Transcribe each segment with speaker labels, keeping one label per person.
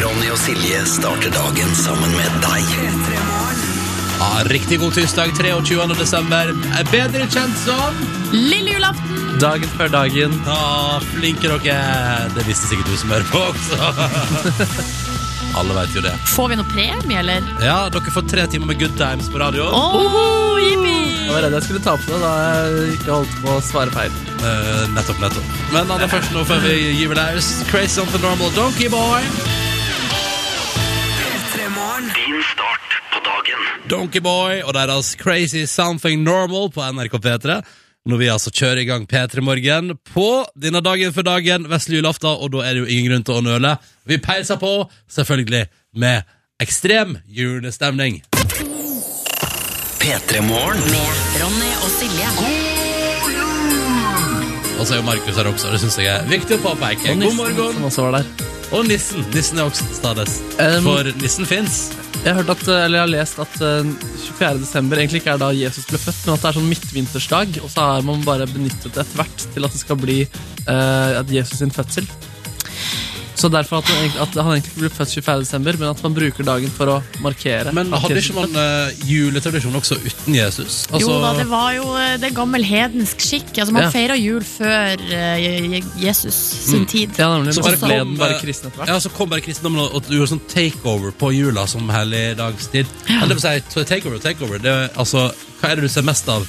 Speaker 1: Ronny og Silje starter dagen sammen med deg.
Speaker 2: Ja, riktig god tirsdag 23. desember. Er bedre kjent som
Speaker 3: Lille julaften!
Speaker 4: Dagen før dagen.
Speaker 2: Ja, flinke dere. Det visste sikkert du som hører på også. Alle vet jo det.
Speaker 3: Får vi noe premie, eller?
Speaker 2: Ja, dere får tre timer med good times på radio.
Speaker 3: Åh, jippi!
Speaker 4: Jeg var redd jeg skulle ta på det da jeg ikke holdt på å svare feil.
Speaker 2: Eh, nettopp, nettopp. Men aller først nå før vi gyver løs. Crazy on the normal donkey boy.
Speaker 1: Din start på dagen.
Speaker 2: Donkey Boy og deres Crazy Something Normal på NRK P3. Når vi altså kjører i gang P3 Morgen på denne dagen for dagen, vesle julaften, og da er det jo ingen grunn til å nøle. Vi peiser på, selvfølgelig, med ekstrem julestemning.
Speaker 1: P3 Morgen.
Speaker 3: Med Ronny og Silje.
Speaker 2: Og så er jo Markus her også, det syns jeg er viktig å påpeke. God morgen.
Speaker 4: Som også var der.
Speaker 2: Og nissen. Nissen er også til stades.
Speaker 4: Um,
Speaker 2: For nissen fins.
Speaker 4: Jeg har, hørt at, eller jeg har lest at eh, 24. desember egentlig ikke er da Jesus ble født, men at det er sånn midtvintersdag, og så har man bare benyttet det etter hvert til at det skal bli eh, at Jesus sin fødsel. Så derfor at, han egentlig- at han egentlig ikke ble født 24. desember, men at man bruker dagen for å markere.
Speaker 2: Men
Speaker 4: at
Speaker 2: hadde
Speaker 4: Jesus
Speaker 2: ikke man eh, juletradisjon også uten Jesus? Altså,
Speaker 3: Jo da, det var jo eh, det er gammel hedensk skikk. Altså, man
Speaker 4: Ja. Mm.
Speaker 3: feirer jul før eh, Je- Je- Jesus sin tid.
Speaker 4: Ja, nemlig.
Speaker 2: Så
Speaker 4: Så
Speaker 2: bare
Speaker 4: bare ble den
Speaker 2: kom, eh,
Speaker 4: bare kristen etter hvert.
Speaker 2: Ja, så kom bare kristendommen og, og gjorde sånn takeover på jula som helligdagstid. Ja. Det vil si, t- takeover og takeover. Det, er, altså, hva er det du ser mest av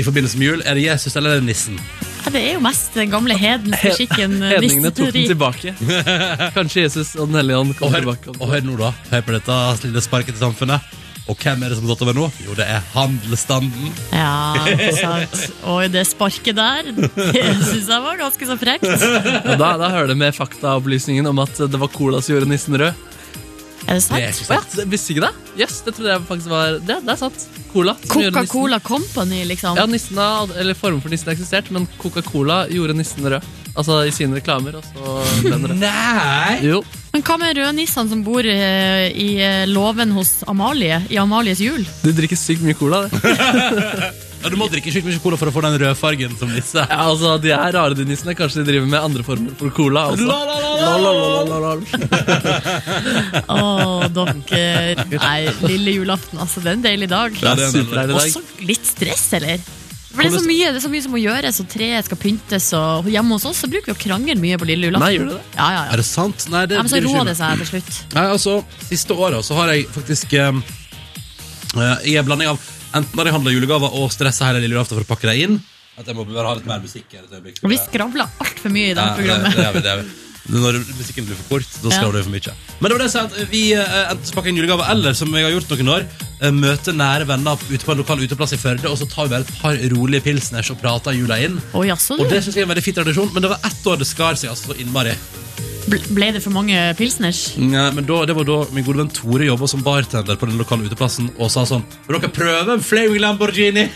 Speaker 2: i forbindelse med jul? Er det Jesus eller er det nissen?
Speaker 3: Ja, det er jo mest den gamle hedenske skikken. eh,
Speaker 4: Hedningene tok
Speaker 3: nisseteri.
Speaker 4: den tilbake. Kanskje Jesus og Den hellige ånd
Speaker 2: Og
Speaker 4: kom
Speaker 2: hør,
Speaker 4: tilbake.
Speaker 2: og hør nå, da. Hør på dette lille sparket til samfunnet. Og hvem er det som har gått over nå? Jo, det er handelsstanden.
Speaker 3: Ja, ikke sant. Og det sparket der, det syns jeg var ganske så frekt.
Speaker 4: Og da, da hører det med faktaopplysningen om at det var cola som gjorde nissen rød.
Speaker 2: Det
Speaker 3: Er det
Speaker 2: er
Speaker 3: sant?
Speaker 2: ikke
Speaker 4: Å ja,
Speaker 2: sant.
Speaker 4: det visste ikke det? Yes, det trodde jeg faktisk var Det, det er sant. Cola. som gjorde nissen-
Speaker 3: Coca-Cola Company, liksom.
Speaker 4: Ja, nissen har ald- eller Formen for nissen har eksistert, men Coca-Cola gjorde nissen rød. Altså i sine reklamer. Og så ble den rød.
Speaker 2: Nei!
Speaker 4: Jo.
Speaker 3: Men hva med rødnissene som bor eh, i eh, låven hos Amalie, i Amalies jul?
Speaker 4: Du drikker sykt mye cola, det.
Speaker 2: Ja, du må drikke sjukt mye cola for å få den rødfargen som nisse.
Speaker 4: Ja, altså, De er rare, de nissene. Kanskje de driver med andre former for cola også.
Speaker 2: La, la, la, la.
Speaker 4: La, la, la, la, la, la.
Speaker 3: Å, dere. Nei, lille julaften, altså. Det er en deilig dag.
Speaker 2: Ja, det er en
Speaker 4: Superdeilig dag.
Speaker 3: Også litt stress, eller? For det er, så mye, det er så mye som må gjøres, og treet skal pyntes. Og hjemme hos oss så bruker vi å krangle mye på lille julaften.
Speaker 4: Nei, gjør du det?
Speaker 3: Ja, ja, ja.
Speaker 2: Er det sant? Nei, det
Speaker 3: ja men så
Speaker 2: blir ikke
Speaker 3: roer
Speaker 2: med.
Speaker 3: det seg til slutt.
Speaker 2: Nei, altså, siste året så har jeg faktisk eh, eh, I en blanding av Enten har jeg handlet julegaver og stresset hele lille julaften for å pakke deg inn At jeg må bare ha litt mer musikk her et øyeblikk
Speaker 3: Og vi skravler altfor mye i
Speaker 2: Ja,
Speaker 3: dette programmet.
Speaker 2: det, det er vi, det er vi når musikken blir for kort, da skravler vi for mye Men det var det jeg sa, at vi eh, enten pakker en julegave Eller, som jeg har gjort noen år eh, Møter nære venner ute på en lokal uteplass i Førde Og så tar vi bare et par rolige pilsners og prater jula inn
Speaker 3: Å, jaså,
Speaker 2: Og
Speaker 3: du.
Speaker 2: det synes jeg er en veldig fin tradisjon Men det var ett år det skar seg, altså, så innmari
Speaker 3: Bl- Ble det for mange pilsners?
Speaker 2: Nei, men da, Det var da min gode venn Tore jobba som bartender på den lokale uteplassen og sa sånn Vil dere prøve en Flaming Lamborghini?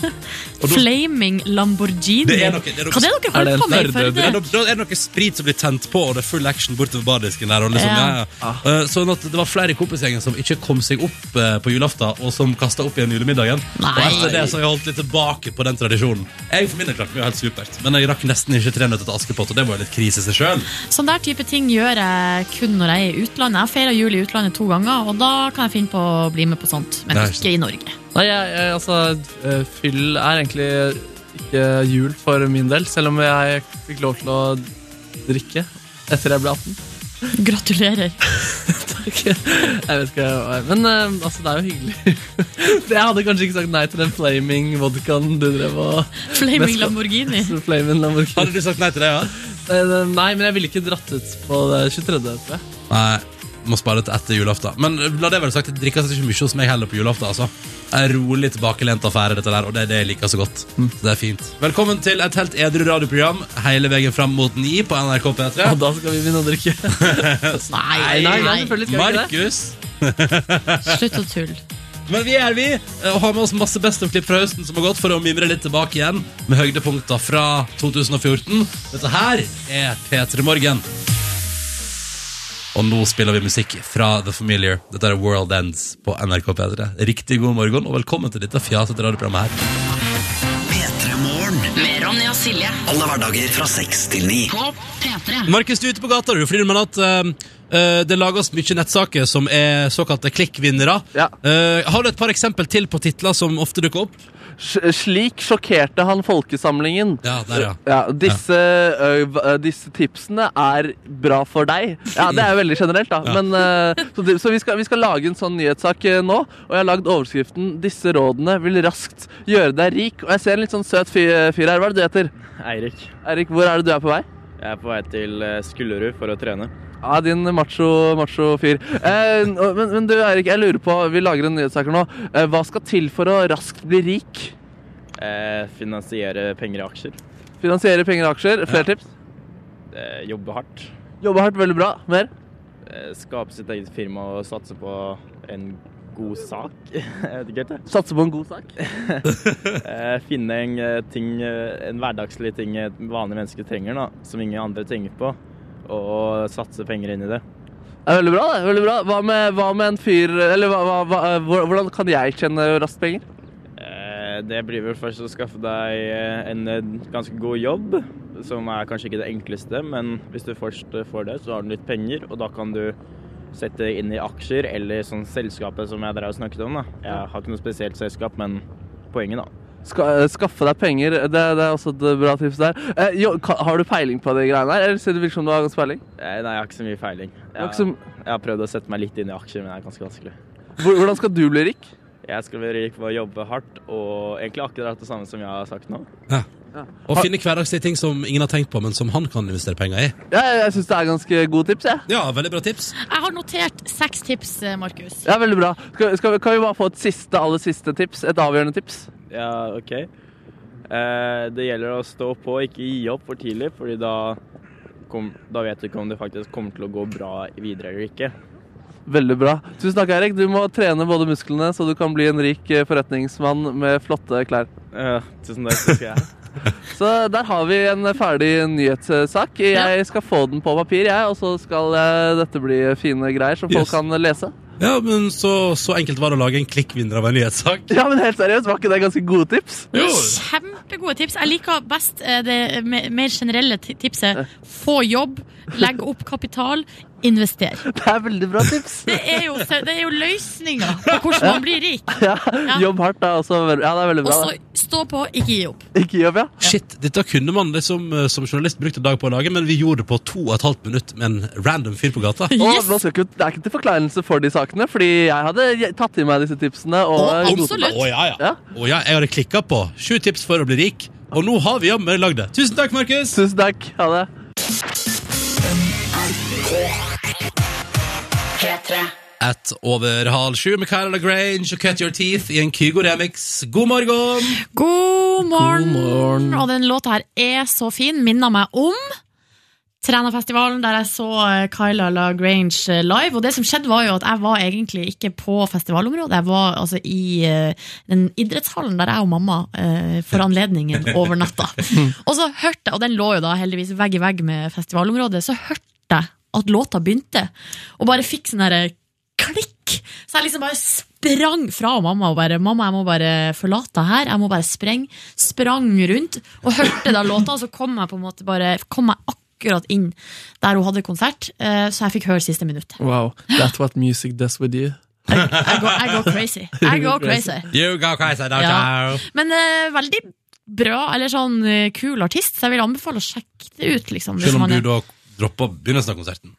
Speaker 2: Og da-
Speaker 3: Flaming Lamborghini?
Speaker 2: Det er noe- det er noe-
Speaker 3: Hva er
Speaker 4: Er det
Speaker 3: det dere holder
Speaker 4: en
Speaker 3: på med i
Speaker 4: ferdødre?
Speaker 2: Da,
Speaker 3: Førde?
Speaker 2: da er det noe sprit som blir tent på, og det er full action bortover bardisken der. Og liksom,
Speaker 3: Ja. Ah.
Speaker 2: ja. Ja, Eh, Sånn at det var flere i kompisgjengen som ikke kom seg opp eh, på julaften, og som kasta opp igjen julemiddagen.
Speaker 3: Nei.
Speaker 2: Og etter det så har jeg holdt litt tilbake på den tradisjonen. Jeg for min del klarte meg jo helt supert, men jeg rakk nesten ikke tre nøtter til Askepott, og det var jo litt krise i seg sjøl.
Speaker 3: Sånn der type ting gjør jeg kun når jeg er i utlandet. Jeg feirer jul i utlandet to ganger, og da kan jeg finne på å bli med på sånt. Men
Speaker 2: Nei,
Speaker 3: ikke i Norge.
Speaker 4: Nei, jeg, jeg, altså, eh, fyll er egentlig ikke jul for min del, selv om jeg fikk lov til å drikke etter jeg ble 18.
Speaker 3: Gratulerer.
Speaker 4: Takk. Jeg vet ikke hva jeg Men eh, altså, det er jo hyggelig. jeg hadde kanskje ikke sagt nei til den flaming vodkaen du drev og
Speaker 3: Flaming
Speaker 4: Neste-
Speaker 3: Lamborghini.
Speaker 4: Flaming Lamborghini.
Speaker 2: Hadde du sagt nei til det, ja?
Speaker 4: Eh, Nei, men jeg ville ikke dratt ut på det 23. tror jeg.
Speaker 2: Nei, må spare til etter julaften. Men la det være sagt, det drikkes ikke mye hos meg heller på julaften. altså. En rolig tilbakelent affære, dette der, og det er det jeg liker så godt.
Speaker 4: Mm.
Speaker 2: Så det er fint. Velkommen til et helt edru radioprogram hele veien fram mot ni på NRK P3.
Speaker 4: Og da skal vi begynne å drikke.
Speaker 3: Nei,
Speaker 4: nei, nei,
Speaker 3: nei.
Speaker 4: selvfølgelig skal vi ikke det.
Speaker 2: Markus.
Speaker 3: Slutt å tulle.
Speaker 2: Men vi er vi, eh, og har med oss masse best of-klipp fra høsten som har gått, for å mimre litt tilbake igjen med høydepunkter fra 2014. Dette her er P3 Morgen. Og nå spiller vi musikk fra The Familiar. Dette er World Ends på NRK P3. Riktig god morgen, og velkommen til dette fjasete radioprogrammet her.
Speaker 1: P3 Morgen.
Speaker 5: Med Ronny og Silje
Speaker 1: Alle hverdager fra seks til ni.
Speaker 5: på P3.
Speaker 2: Markus, du er ute på gata, du, fordi du mener at eh, Eh, det lages mye nettsaker som er såkalte klikkvinnere.
Speaker 4: Ja.
Speaker 2: Eh, har du et par eksempel til på titler som ofte dukker opp?
Speaker 4: Sj- Slik sjokkerte han folkesamlingen.
Speaker 2: Ja, der, ja.
Speaker 4: disse, ø, v- ø, disse tipsene er bra for deg. Ja, Det er jo veldig generelt, da. Men, ø, så det, så vi, skal, vi skal lage en sånn nyhetssak ø, nå, og jeg har lagd overskriften 'Disse rådene vil raskt gjøre deg rik'. Og jeg ser en litt sånn søt fyr, fyr her. Hva er det du heter?
Speaker 5: Eirik.
Speaker 4: Erik, hvor er det du er på vei?
Speaker 5: Jeg er på vei til eh, Skullerud for å trene.
Speaker 4: Ja, din macho, macho fyr. Eh, og- men, men du, Eirik, jeg lurer på Vi lager en nyhetssak her nå. Eh, hva skal til for å raskt bli rik?
Speaker 5: Eh, finansiere penger i aksjer.
Speaker 4: Finansiere penger og aksjer. Flere tips?
Speaker 5: Eh, jobbe hardt.
Speaker 4: Jobbe hardt, veldig bra. Mer?
Speaker 5: Eh, skape sitt eget firma og satse på en god sak. Jeg vet ikke helt, jeg.
Speaker 4: Satse på en god sak.
Speaker 5: Eh, finne en, eh, ting, eh, en hverdagslig ting et vanlig menneske trenger, da, som ingen andre tenker på. Og satse penger inn i det.
Speaker 4: Det er veldig bra, det. veldig bra. Hva med, hva med en fyr Eller hva, hva, hva, eh, hvor- hvordan kan jeg tjene raskt penger?
Speaker 5: Eh, det blir vel først å skaffe deg eh, en eh, ganske god jobb, som er kanskje ikke det enkleste, men hvis du først eh, får det, så har du litt penger, og da kan du sette inn i aksjer eller sånn selskapet som jeg drev og snakket om. da. Jeg har ikke noe spesielt selskap, men poenget, da.
Speaker 4: Ska, eh, skaffe deg penger. Det, det er også et bra tips der. Eh, jo, ka, har du peiling på de greiene her? Eller ser det virker som du har ganske peiling?
Speaker 5: Eh, nei, jeg har ikke så mye feiling.
Speaker 4: Du har ikke
Speaker 5: Jeg,
Speaker 4: så-
Speaker 5: jeg har prøvd å sette meg litt inn i aksjer, men det er ganske vanskelig.
Speaker 4: Hvor- Hvordan skal du bli rik?
Speaker 5: Jeg skal være rik på å jobbe hardt, og egentlig akkurat det samme som jeg har sagt nå.
Speaker 2: Å finne hverdagslige ting som ingen har tenkt på, men som han kan investere penger i.
Speaker 4: Ja, jeg jeg syns det er ganske gode tips, jeg.
Speaker 2: Ja, veldig bra tips.
Speaker 3: Jeg har notert seks tips, eh, Markus.
Speaker 4: Ja, veldig bra. Skal, skal, vi- kan vi bare få et siste, aller siste tips? Et avgjørende tips?
Speaker 5: Ja, OK. Eh, det gjelder å stå på, ikke gi opp for tidlig, fordi da, kom, da vet du ikke om det faktisk kommer til å gå bra videre eller ikke.
Speaker 4: Veldig bra. Tusen takk, Eirik. Du må trene både musklene, så du kan bli en rik eh, forretningsmann med flotte klær.
Speaker 5: Eh, tusen takk. Det skal jeg.
Speaker 4: Så der har vi en ferdig nyhetssak. Jeg skal få den på papir, jeg, og så skal eh, dette bli fine greier som folk
Speaker 2: Yes.
Speaker 4: kan lese.
Speaker 2: Ja, men så, så enkelt var det å lage en klikkvinner av en nyhetssak.
Speaker 4: Ja, men helt seriøst, var ikke det ganske gode tips?
Speaker 2: Jo.
Speaker 3: Kjempegode tips. Jeg liker best eh, det me- mer generelle ti- tipset. Få jobb, legg opp kapital, invester.
Speaker 4: Det er veldig bra tips.
Speaker 3: Det er jo, det er jo løsninga på hvordan man blir rik.
Speaker 4: Ja, Jobb hardt er også veldig, ja, det er veldig
Speaker 3: Og
Speaker 4: bra.
Speaker 3: så stå på, ikke gi opp.
Speaker 4: da. Ikke jobb, ja.
Speaker 2: Shit, dette kunne man liksom eh, som journalist brukt en dag på å lage, men vi gjorde det på to og et halvt minutt med en random fyr på gata.
Speaker 4: Og
Speaker 3: Yes!
Speaker 4: nå skal ikke, det er ikke til forkleinelse for de sakene, fordi jeg hadde tatt i meg disse tipsene. Og,
Speaker 3: Og absolutt.
Speaker 2: Å ja, ja.
Speaker 4: Ja.
Speaker 2: Å ja, jeg hadde klikka på sju tips for å bli rik, og nå har vi jammen lagd det. Tusen takk, Markus!
Speaker 4: Tusen takk. Ha det.
Speaker 2: Ett over halv sju med Kyla Lagrange og Cut Your Teeth i en Kygo-remix. God morgen!
Speaker 3: God morgen.
Speaker 4: God morgen.
Speaker 3: Og den låta her er så fin. Minner meg om Trænafestivalen, der jeg så eh, Kyla LaGrange eh, live. Og det som skjedde, var jo at jeg var egentlig ikke på festivalområdet. Jeg var altså i eh, den idrettshallen der jeg og mamma eh, for anledningen over natta. Og så hørte jeg, og den lå jo da heldigvis vegg i vegg med festivalområdet, så hørte jeg at låta begynte, og bare fikk sånn derre klikk. Så jeg liksom bare sprang fra mamma og bare 'Mamma, jeg må bare forlate deg her. Jeg må bare spreng. Sprang rundt og hørte da låta, og så kom jeg på en måte bare Kom jeg akkurat inn der hun hadde konsert, eh, så jeg fikk høre siste minutt.
Speaker 4: Wow, that's what music does with you.
Speaker 3: Jeg går, jeg går crazy. Jeg går crazy.
Speaker 2: You go crazy, don't
Speaker 3: Ja.
Speaker 2: you?
Speaker 3: Men eh, veldig bra, eller sånn eh, kul artist, så jeg vil anbefale å sjekke det ut, liksom. hvis
Speaker 2: Selv om
Speaker 3: man
Speaker 2: du
Speaker 3: er-
Speaker 2: da droppa begynnelsen av konserten.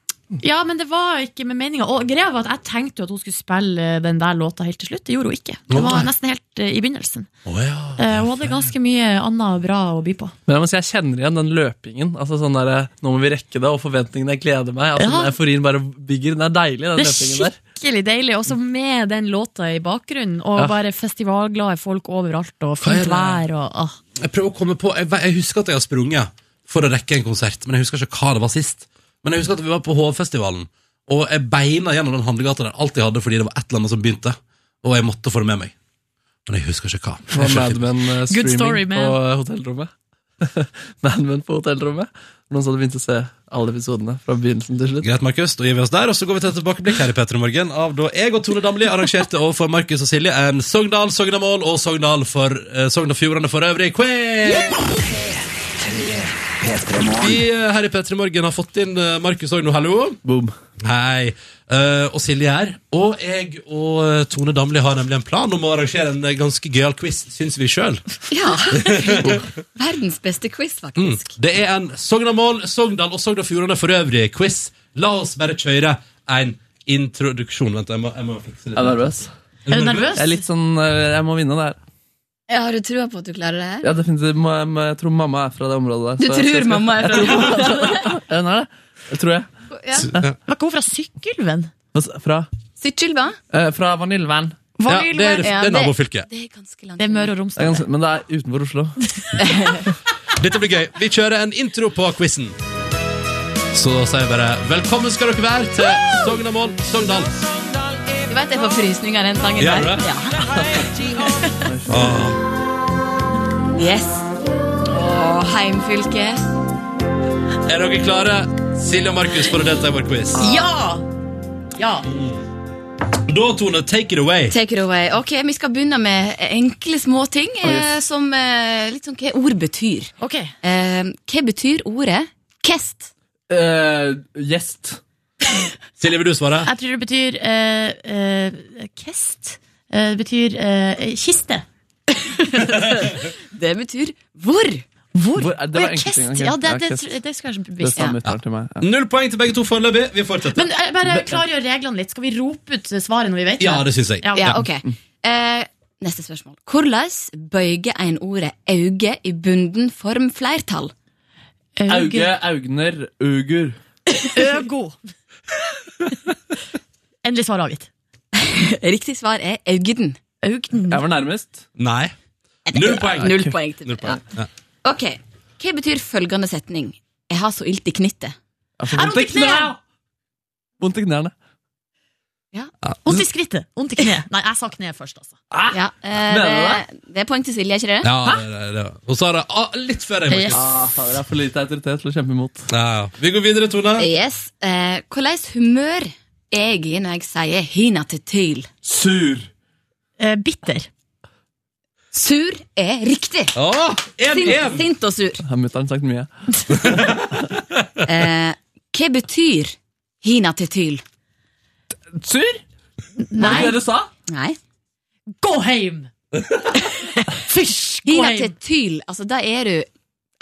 Speaker 3: Ja, men det var ikke med meninga. Og greia var at jeg tenkte jo at hun skulle spille eh, den der låta helt til slutt. Det gjorde hun ikke. Det var nesten helt eh, i begynnelsen.
Speaker 2: Å ja.
Speaker 3: Eh, Hun hadde ganske mye annet bra å by på.
Speaker 4: Men jeg må si, jeg kjenner igjen den løpingen. Altså sånn der, Nå må vi rekke det, og forventningene jeg gleder meg. Altså,
Speaker 3: Ja.
Speaker 4: den Euforien bare bygger. Den er deilig, den
Speaker 3: Det er
Speaker 4: løpingen der.
Speaker 3: skikkelig deilig, også med den låta i bakgrunnen. Og
Speaker 4: Ja.
Speaker 3: bare festivalglade folk overalt, og fint
Speaker 2: Hva
Speaker 3: vær og ah.
Speaker 2: Jeg prøver å komme på jeg, ve- jeg husker at jeg har sprunget for å rekke en konsert, men jeg husker ikke hva det var sist. Men jeg husker at vi var på Hovefestivalen, og jeg beina gjennom den handlegata der alt jeg hadde, fordi det var et eller annet som begynte, og jeg måtte få det med meg. Men jeg husker ikke hva.
Speaker 4: Det var Mad Men eh, streaming
Speaker 3: story, man.
Speaker 4: på eh, hotellrommet. Mad Men på hotellrommet. Noen som hadde begynt å se alle episodene fra begynnelsen til slutt.
Speaker 2: Greit, Markus, da gir vi oss der, og så går vi til et tilbakeblikk her i Petter i morgen av da jeg og Tone Damli arrangerte overfor Markus og Silje en Sogndal, Sognamål og Sogndal for eh, Sogn og Fjordane for øvrig. Quiz!
Speaker 1: P3. P3 Morgen.
Speaker 2: Vi eh, her i P3 Morgen har fått inn eh, Markus Ogno, hallo.
Speaker 4: Boom.
Speaker 2: Hei. Eh, og Silje her. Og jeg og eh, Tone Damli har nemlig en plan om å arrangere en eh, ganske gøyal quiz, syns vi sjøl.
Speaker 6: Ja. Verdens beste quiz,
Speaker 4: Mm.
Speaker 6: faktisk.
Speaker 2: Det er en Sognamål, Sogndal og Sogn og Fjordane for øvrig-quiz. La oss bare kjøre en introduksjon. Vent, jeg må, jeg må fikse
Speaker 4: Jeg er
Speaker 2: litt.
Speaker 4: nervøs.
Speaker 3: Er du nervøs?
Speaker 4: Jeg er litt sånn eh, Jeg må vinne det her.
Speaker 6: Jeg har du trua på at du klarer det her?
Speaker 4: Ja, definitivt. Må- Jeg, må- jeg tror mamma er fra det området der.
Speaker 6: Du
Speaker 4: så jeg- så jeg
Speaker 6: tror
Speaker 4: skal-
Speaker 6: mamma er fra
Speaker 4: Ja, Hun er det? Det tror jeg.
Speaker 6: ja.
Speaker 3: Var ikke hun fra Sykkylven?
Speaker 4: Hva s- Fra,
Speaker 6: Sykkylva?
Speaker 4: eh, fra Vaniljevann.
Speaker 2: Ja,
Speaker 3: Var
Speaker 2: det er, det
Speaker 6: Ja,
Speaker 2: er
Speaker 6: det-
Speaker 2: nabofylket.
Speaker 6: Det er ganske langt.
Speaker 3: Det er Møre og
Speaker 4: Det er
Speaker 3: Romsdal.
Speaker 4: ganske- Men det er utenfor Oslo.
Speaker 2: Dette blir gøy. Vi kjører en intro på quizen. Så sier vi bare velkommen skal dere være til Sognamål, Sogndal.
Speaker 6: Du vet jeg får frysninger den sangen
Speaker 2: Gjør
Speaker 6: der?
Speaker 2: du det?
Speaker 6: Ja.
Speaker 2: Åh,
Speaker 6: Yes. Å, heimfylke.
Speaker 2: Er dere klare, Silje og Markus, for å delta i vår quiz?
Speaker 6: Ja! Ja.
Speaker 2: Da, Tone, take it away.
Speaker 6: Take it away. Ok, Vi skal begynne med enkle småting, eh, som eh, litt sånn hva ord betyr.
Speaker 3: Ok,
Speaker 6: Eh, hva betyr ordet kest?
Speaker 4: Eh, gjest.
Speaker 2: Silje, vil du svare?
Speaker 3: Jeg tror det betyr eh, eh, Kest. Eh, Det betyr eh, kiste.
Speaker 6: Det betyr hvor.
Speaker 3: Hvor?
Speaker 4: Hvor- det var
Speaker 3: Å ja,
Speaker 4: enkelt
Speaker 3: kest.
Speaker 4: engang.
Speaker 3: Ja, det,
Speaker 4: Ja,
Speaker 3: det,
Speaker 4: kest.
Speaker 3: tr- det skal jeg kanskje
Speaker 4: Det
Speaker 3: bevisst.
Speaker 4: stammer ja. til meg. Ja.
Speaker 2: Null poeng til begge to foreløpig. Vi fortsetter.
Speaker 3: Men eh, bare klargjør reglene litt. Skal vi rope ut svaret når vi vet
Speaker 2: Ja, det syns jeg.
Speaker 3: Ja,
Speaker 6: Ja, ok. Eh, neste spørsmål. Hvordan bøyger en ordet auge i bunden form flertall?
Speaker 4: Auge, augner, augur.
Speaker 3: Øgo. Endelig svar avgitt.
Speaker 6: Riktig svar er augden.
Speaker 3: Augden.
Speaker 4: Jeg var nærmest.
Speaker 2: Nei. Null poeng.
Speaker 6: Null poeng til
Speaker 2: Null
Speaker 6: meg.
Speaker 2: poeng.
Speaker 6: Ja.
Speaker 2: Ja.
Speaker 6: Ok, Hva betyr følgende setning? Jeg har så ilt i knittet.
Speaker 4: Jeg får
Speaker 3: Er
Speaker 4: Altså, vondt i knærne! Vondt i knærne.
Speaker 3: Vondt i skrittet. Vondt i kneet. Nei, jeg sa kneet først, altså.
Speaker 6: Ja, eh,
Speaker 4: Mener
Speaker 6: det, det er poeng til Silje, er ikke det?
Speaker 2: Ja, det, det, det. Hun sa det ah, litt før jeg
Speaker 3: Yes.
Speaker 2: Markus.
Speaker 4: Ah, fader, jeg har for lite autoritet til å kjempe imot.
Speaker 2: Ja, ja. Vi går videre, Tone.
Speaker 6: Yes. Eh, hvordan humør er jeg i når jeg sier hina til tyl?
Speaker 4: Sur.
Speaker 3: Eh, bitter.
Speaker 6: Sur er riktig.
Speaker 2: Åh,
Speaker 6: Sint,
Speaker 2: 1-1.
Speaker 6: sint og sur.
Speaker 4: Har mutter'n sagt mye?
Speaker 6: Eh, hva betyr hina til tyl?
Speaker 4: Sur? Hva
Speaker 3: Nei,
Speaker 4: dere sa?
Speaker 6: Nei.
Speaker 3: gå hjem! Fysj, gå
Speaker 6: Hina til
Speaker 3: hjem!
Speaker 6: tyl, altså da er du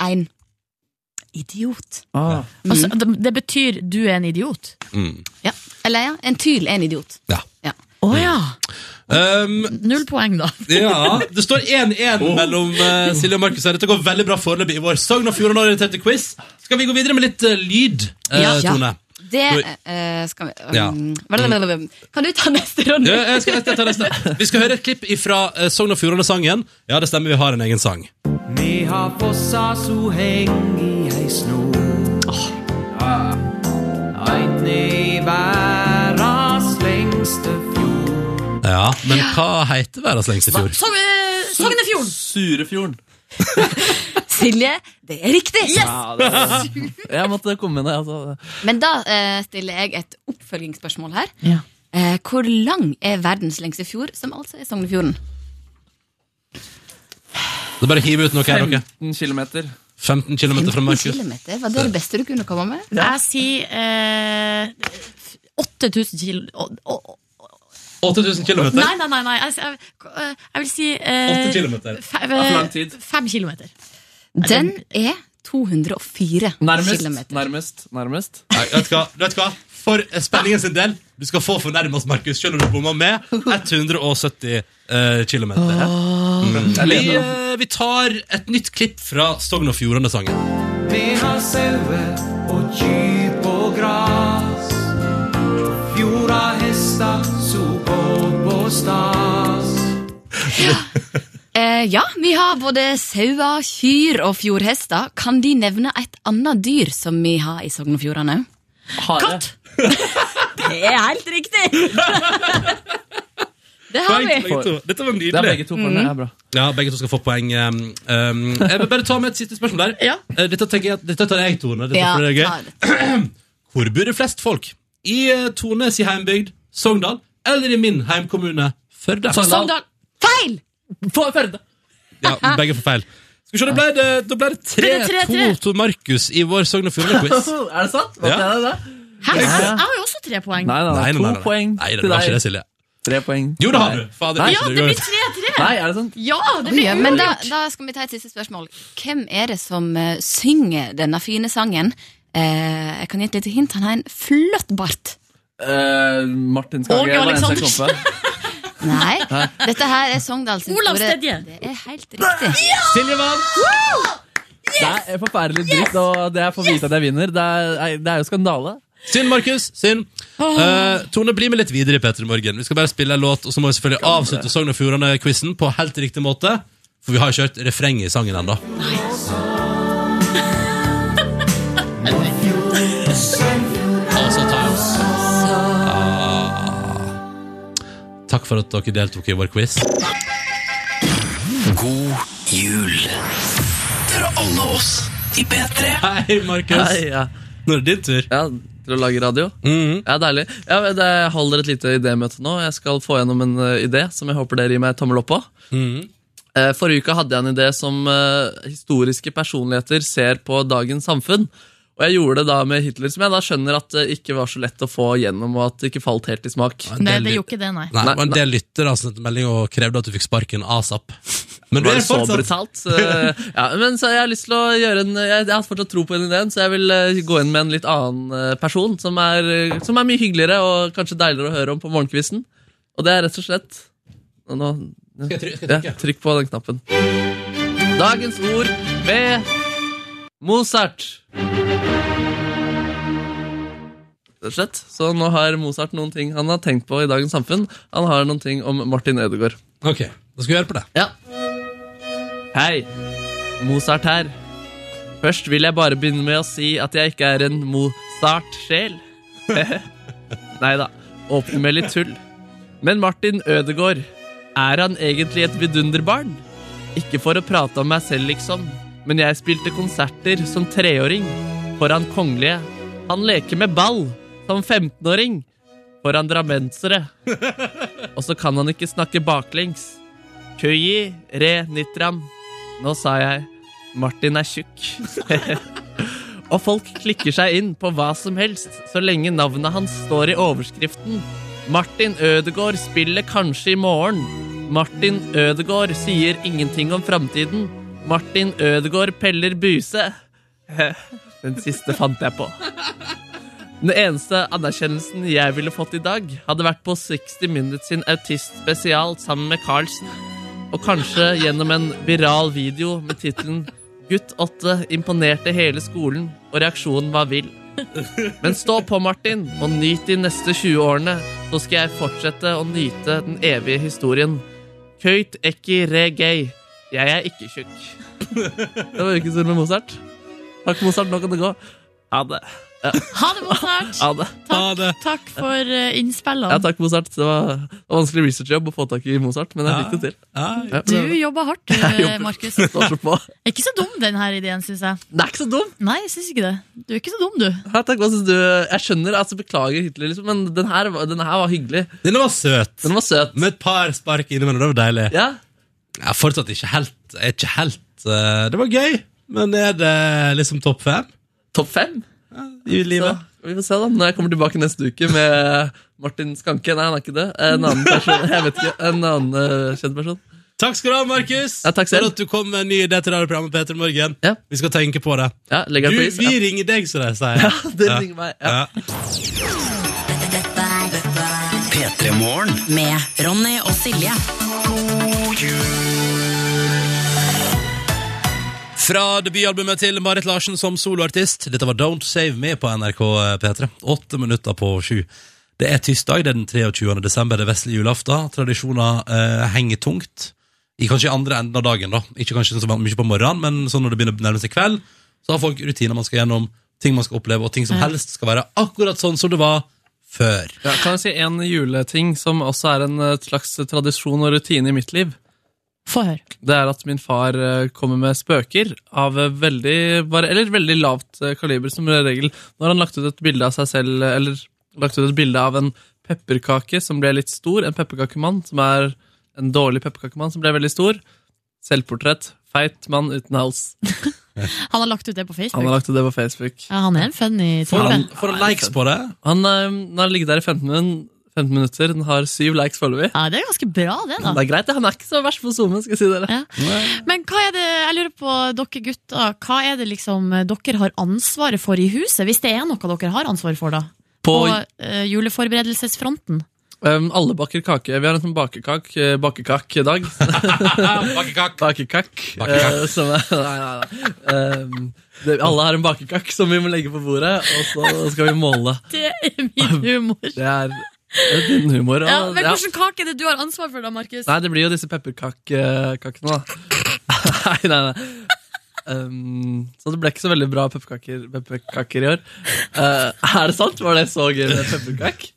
Speaker 6: en idiot.
Speaker 4: Ah.
Speaker 3: Altså, det, det betyr du er en idiot.
Speaker 6: Ja. Eller ja, en tyl er en idiot.
Speaker 2: Ja.
Speaker 6: Ja.
Speaker 3: Å ja.
Speaker 2: Um,
Speaker 3: Null poeng, da.
Speaker 2: ja. Det står 1-1 mellom eh, Silje og Markus. her. Dette går veldig bra foreløpig i vår Sogn og Fjordane-orienterte quiz. Skal vi gå videre med litt eh, lyd, eh,
Speaker 6: Ja.
Speaker 2: Tone?
Speaker 6: Det
Speaker 2: Oi.
Speaker 6: eh, skal vi um,
Speaker 2: Ja.
Speaker 6: blablabla. Kan du ta neste runde?
Speaker 2: Ja, jeg skal, jeg skal ta neste. Vi skal høre et klipp fra Sogn og Fjordane-sangen. Ja, det stemmer, vi har en egen sang.
Speaker 7: Me har fossa so heng i ei snor. Ja. Eit ned i verdas lengste fjord.
Speaker 2: Ja, Men hva heter verdens lengste fjord?
Speaker 3: Sogn- eh, Sognefjorden!
Speaker 4: Surefjorden.
Speaker 6: Silje, det er riktig!
Speaker 4: Jeg måtte komme med det. Altså.
Speaker 6: Men da eh, stiller jeg et oppfølgingsspørsmål her.
Speaker 3: Ja.
Speaker 6: Eh, hvor lang er verdens lengste fjord, som altså er Sognefjorden?
Speaker 2: Det er bare å hive ut noe her, dere.
Speaker 4: 15 kilometer.
Speaker 2: 15 km fra
Speaker 6: 15
Speaker 2: Markus.
Speaker 6: kilometer? Var det det beste du kunne komme med?
Speaker 3: Jeg sier eh, 8000 kilo å- å-
Speaker 2: 8000 km.
Speaker 3: Nei, nei, nei. nei. Jeg, jeg, eh, jeg vil si
Speaker 2: Åtte
Speaker 3: eh,
Speaker 2: kilometer.
Speaker 3: fe-
Speaker 4: lang tid.
Speaker 3: Fem kilometer.
Speaker 6: Den er 204
Speaker 4: Nærmest.
Speaker 6: kilometer.
Speaker 4: Nærmest. Nærmest.
Speaker 2: Nei, vet du hva? Vet du hva? For spenningen sin del, du skal få fornærmest Markus, selv om du bommer med 170 uh, km. Mm. Vi, eh, vi tar et nytt klipp fra Sogn og Fjordane-sangen.
Speaker 7: Me har sauer og dyp og gras. Fjorda hestar so går på stas.
Speaker 6: Eh, ja, vi har både sauer, kyr og fjordhester. Kan De nevne et annet dyr som vi har i Sogn og Fjordane?
Speaker 4: Hare.
Speaker 3: Katt!
Speaker 6: Det er helt riktig! det har
Speaker 2: Poeng til
Speaker 6: vi.
Speaker 2: begge to. Dette
Speaker 4: Det
Speaker 2: var
Speaker 4: er
Speaker 2: nydelig.
Speaker 4: begge to poeng. Det er bra.
Speaker 2: Ja, Begge to skal få poeng. Um, um, jeg vil bare ta med et siste spørsmål der.
Speaker 3: Ja.
Speaker 2: Eh, Dette, tenker jeg, at- dette tar jeg, Tone. Dette
Speaker 6: Ja,
Speaker 2: tror jeg er
Speaker 6: ja,
Speaker 2: gøy. Hvor bor det flest folk? I eh, Tone sin heimbygd, Sogndal, eller i min heimkommune, Førde?
Speaker 4: Sogndal.
Speaker 6: Feil!
Speaker 4: Få Førde!
Speaker 2: Ja, begge får feil. Skal vi se, da ble det, da ble det
Speaker 3: Ble det
Speaker 2: 3-2
Speaker 3: 3-2?
Speaker 2: til Markus i vår Sogn og Fjordane-quiz.
Speaker 4: Er det sant? Hva
Speaker 2: Ja.
Speaker 4: er det da?
Speaker 3: Hæ? Jeg har jo også tre poeng.
Speaker 4: Nei, nei, nei, to poeng
Speaker 2: Nei, det
Speaker 4: til
Speaker 2: var ikke det,
Speaker 4: deg.
Speaker 2: Silje.
Speaker 4: Tre poeng.
Speaker 2: Jo, det har du! Fader,
Speaker 4: Nei.
Speaker 3: Ja, det blir 3-3!
Speaker 4: Nei, er det sant?
Speaker 3: Ja, det blir
Speaker 6: Men da,
Speaker 3: uavgjort!
Speaker 6: da skal vi ta et siste spørsmål. Hvem er det som eh, synger denne fine sangen? Eh, jeg kan gi et lite hint. Han har en flott bart.
Speaker 4: Eh, Martin
Speaker 3: Åge
Speaker 4: Skage, Valencia
Speaker 3: Aleksandersen.
Speaker 4: Klompe.
Speaker 6: Nei, dette her er Sogndal sin
Speaker 3: Olav
Speaker 6: store-
Speaker 3: Stedje.
Speaker 6: Det er helt riktig.
Speaker 2: Silje vant!
Speaker 4: Det er forferdelig dritt, og det jeg får vite at jeg vinner, det er, nei, det er jo skandale.
Speaker 2: Synd, Markus. Synd. Eh, Tone, bli med litt videre i Petter i morgen. Vi skal bare spille en låt, og så må vi selvfølgelig avslutte Sogn og Fjordane-quizen på helt riktig måte. For vi har ikke hørt refrenget i sangen ennå. Altså, ta- Ah. Takk for at dere deltok i vår quiz.
Speaker 1: God jul fra alle oss i P3.
Speaker 2: Hei,
Speaker 4: Nei,
Speaker 2: Markus.
Speaker 4: ja.
Speaker 2: Nå er det din tur.
Speaker 4: ja, til å lage radio.
Speaker 2: Mhm.
Speaker 4: Ja, deilig. Ja, men det- jeg holder et lite idémøte nå. Jeg skal få gjennom en eh, idé som jeg håper dere gir meg tommel opp på.
Speaker 2: Mhm.
Speaker 4: Eh, Forrige uke hadde jeg en idé som eh, historiske personligheter ser på dagens samfunn. Og jeg gjorde det da med Hitler, som jeg da skjønner at det ikke var så lett å få gjennom, og at det ikke falt helt i smak.
Speaker 3: Nei, det gjorde ikke det, nei.
Speaker 2: Nei,
Speaker 4: Nei,
Speaker 2: det var en del lyttere som sendte melding og krevde at du fikk sparken asap. Men du
Speaker 4: Var
Speaker 2: er
Speaker 4: det så
Speaker 2: fortsatt
Speaker 4: brutalt? Eh, ja, men så jeg har lyst til å gjøre en Jeg, jeg har fortsatt tro på den ideen, så jeg vil eh, gå inn med en litt annen eh, person, som er, eh, som er mye hyggeligere og kanskje deiligere å høre om på morgenkvisten. Og det er rett og slett og nå,
Speaker 2: Skal jeg try- skal jeg
Speaker 4: ja,
Speaker 2: trykke?
Speaker 4: Trykk på den knappen. Dagens ord med Mozart. Rett og slett. Så nå har Mozart noen ting han har tenkt på i dagens samfunn. Han har noen ting om Martin Ødegaard.
Speaker 2: Ok, da skal vi høre på det.
Speaker 4: Ja. Hei, Mozart her. Først vil jeg bare begynne med å si at jeg ikke er en Mozart-sjel. Nei da, åpne med litt tull. Men Martin Ødegaard, er han egentlig et vidunderbarn? Ikke for å prate om meg selv, liksom, men jeg spilte konserter som treåring foran kongelige. Han leker med ball som 15-åring foran drammensere. Og så kan han ikke snakke baklengs. Køyi re nitram. Nå sa jeg Martin er tjukk. og folk klikker seg inn på hva som helst så lenge navnet hans står i overskriften. Martin Ødegaard spiller kanskje i morgen. Martin Ødegaard sier ingenting om framtiden. Martin Ødegaard peller buse. Den siste fant jeg på. Den eneste anerkjennelsen jeg ville fått i dag, hadde vært på 60 Minutes sin autist-spesial sammen med Carlsen. Og kanskje gjennom en viral video med tittelen 'Gutt 8 imponerte hele skolen', og reaksjonen var vill. Men stå på, Martin, og nyt de neste 20 årene, så skal jeg fortsette å nyte den evige historien. Køyt ekki re gay. Jeg er ikke tjukk. Det var ukens ord med Mozart. Takk, Mozart. Nå kan det gå. Ha det.
Speaker 3: Ha det, Mozart!
Speaker 4: Ha det.
Speaker 2: Ha
Speaker 3: Takk,
Speaker 2: det.
Speaker 3: takk for eh, innspillene.
Speaker 4: Ja, takk, Mozart. Det var, det var vanskelig researchjobb å få tak i Mozart, men jeg fikk det til.
Speaker 2: Ja,
Speaker 4: Ja,
Speaker 3: Du
Speaker 4: det
Speaker 3: jobber hardt, du,
Speaker 4: jobber.
Speaker 3: Markus.
Speaker 4: står så på.
Speaker 3: Er ikke så dum, den her ideen, syns jeg.
Speaker 4: Det er ikke så dumt!
Speaker 3: Nei, jeg syns ikke det. Du er ikke så dum, du.
Speaker 4: Ja, takk, hva synes du? Jeg skjønner, altså beklager Hitler, liksom, men den her, var- den her var hyggelig.
Speaker 2: Denne var søt.
Speaker 4: Den var søt.
Speaker 2: Med et par spark innimellom. Det var deilig.
Speaker 4: Ja,
Speaker 2: Jeg er fortsatt ikke helt Jeg er ikke helt eh, Det var gøy, men er det liksom topp fem
Speaker 4: Topp fem.
Speaker 2: i
Speaker 4: Så,
Speaker 2: livet?
Speaker 4: vi får se, da. Når jeg kommer tilbake neste uke med Martin Skanke Nei, han er ikke det. En annen person. Jeg vet ikke. En annen eh, kjent person.
Speaker 2: Takk skal du ha, Markus.
Speaker 4: Ja, takk selv.
Speaker 2: For at du kom med en ny idé til radioprogrammet Peter Morgen.
Speaker 4: Ja.
Speaker 2: Vi skal tenke på det.
Speaker 4: Ja,
Speaker 2: Du,
Speaker 4: legger jeg på is.
Speaker 2: vi ringer deg, som de sier.
Speaker 4: Ja, det ringer meg. Ja.
Speaker 2: Ja.
Speaker 1: P3 Morgen.
Speaker 8: Med Ronny og Silje.
Speaker 2: Fra debutalbumet til Marit Larsen som soloartist. Dette var Don't Save Me på NRK P3. Åtte minutter på sju. Det er tirsdag, det er den 23. desember, det er vesle julaften. Tradisjoner eh, henger tungt. I kanskje i andre enden av dagen, da. Ikke kanskje så mye på morgenen, men sånn når det begynner å nærme seg kveld, så har folk rutiner man skal gjennom, ting man skal oppleve, og ting som helst skal være akkurat sånn som det var før.
Speaker 4: Ja, kan jeg si en juleting som også er en eh, slags tradisjon og rutine i mitt liv?
Speaker 3: Få høre.
Speaker 4: Det er at min far eh, kommer med spøker av eh, veldig, var- eller veldig lavt eh, kaliber, som regel. Nå har han lagt ut et bilde av seg selv, eh, eller lagt ut et bilde av en pepperkake som ble litt stor, en pepperkakemann som er en dårlig pepperkakemann som ble veldig stor, Selvportrett. Feit mann uten hals.
Speaker 3: Han har lagt ut det på Facebook.
Speaker 4: Han har lagt ut det på Facebook.
Speaker 3: ja, han er en funny
Speaker 2: Får
Speaker 3: type.
Speaker 2: han, får han likes på det?
Speaker 4: Han, eh, den har ligget der i 15, min- 15 minutter. Den har syv likes foreløpig.
Speaker 3: Ja, det er ganske bra, det, da.
Speaker 4: Det er greit, det. han er ikke så verst på zoomen, skal jeg si dere.
Speaker 3: Ja. Men hva er det, jeg lurer på dere gutter, hva er det liksom dere har ansvaret for i huset, hvis det er noe dere har ansvaret for, da? På
Speaker 4: På
Speaker 3: eh, juleforberedelsesfronten.
Speaker 4: Um, alle baker kake. Vi har en sånn bakekak, eh, bakekak-dag.
Speaker 2: Bakekakk.
Speaker 4: bakekakk.
Speaker 2: Bakekakk.
Speaker 4: eh, som er, nei, nei, nei. Um, det, alle har en bakekakk som vi må legge på bordet, og så skal vi måle.
Speaker 3: Det er min humor.
Speaker 4: Det er, det er din humor.
Speaker 3: Ja,
Speaker 4: Og,
Speaker 3: men
Speaker 4: ja.
Speaker 3: hvilken kake er det du har ansvar for, da, Markus?
Speaker 4: Nei, det blir jo disse pepperkakene, da. nei, nei, nei. Um, så det ble ikke så veldig bra pepperkaker, pepperkaker i år. Eh, er det sant? Var det så gøy med pepperkakk?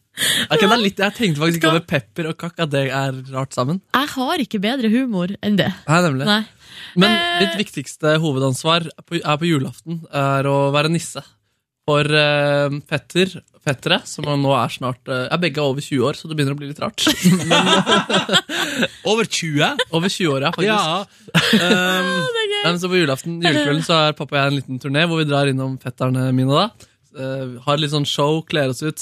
Speaker 4: Ok, det er litt, jeg tenkte faktisk ikke over pepper og kakk, at det er rart sammen.
Speaker 3: Jeg har ikke bedre humor enn det.
Speaker 4: Nei, nemlig.
Speaker 3: Nei.
Speaker 4: Men
Speaker 3: Eh.
Speaker 4: ditt viktigste hovedansvar er på, er på julaften er å være nisse. For eh, fetter, fettere, som nå er snart eh, er begge over 20 år, så det begynner å bli litt rart.
Speaker 2: Over 20?
Speaker 4: Over 20 år, ja, faktisk. Ehm,
Speaker 2: Ja. Um,
Speaker 4: Nei, men så på julaften, julekvelden så er pappa og jeg en liten turné hvor vi drar innom fetterne mine. da. Eh, har litt sånn show, kler oss ut.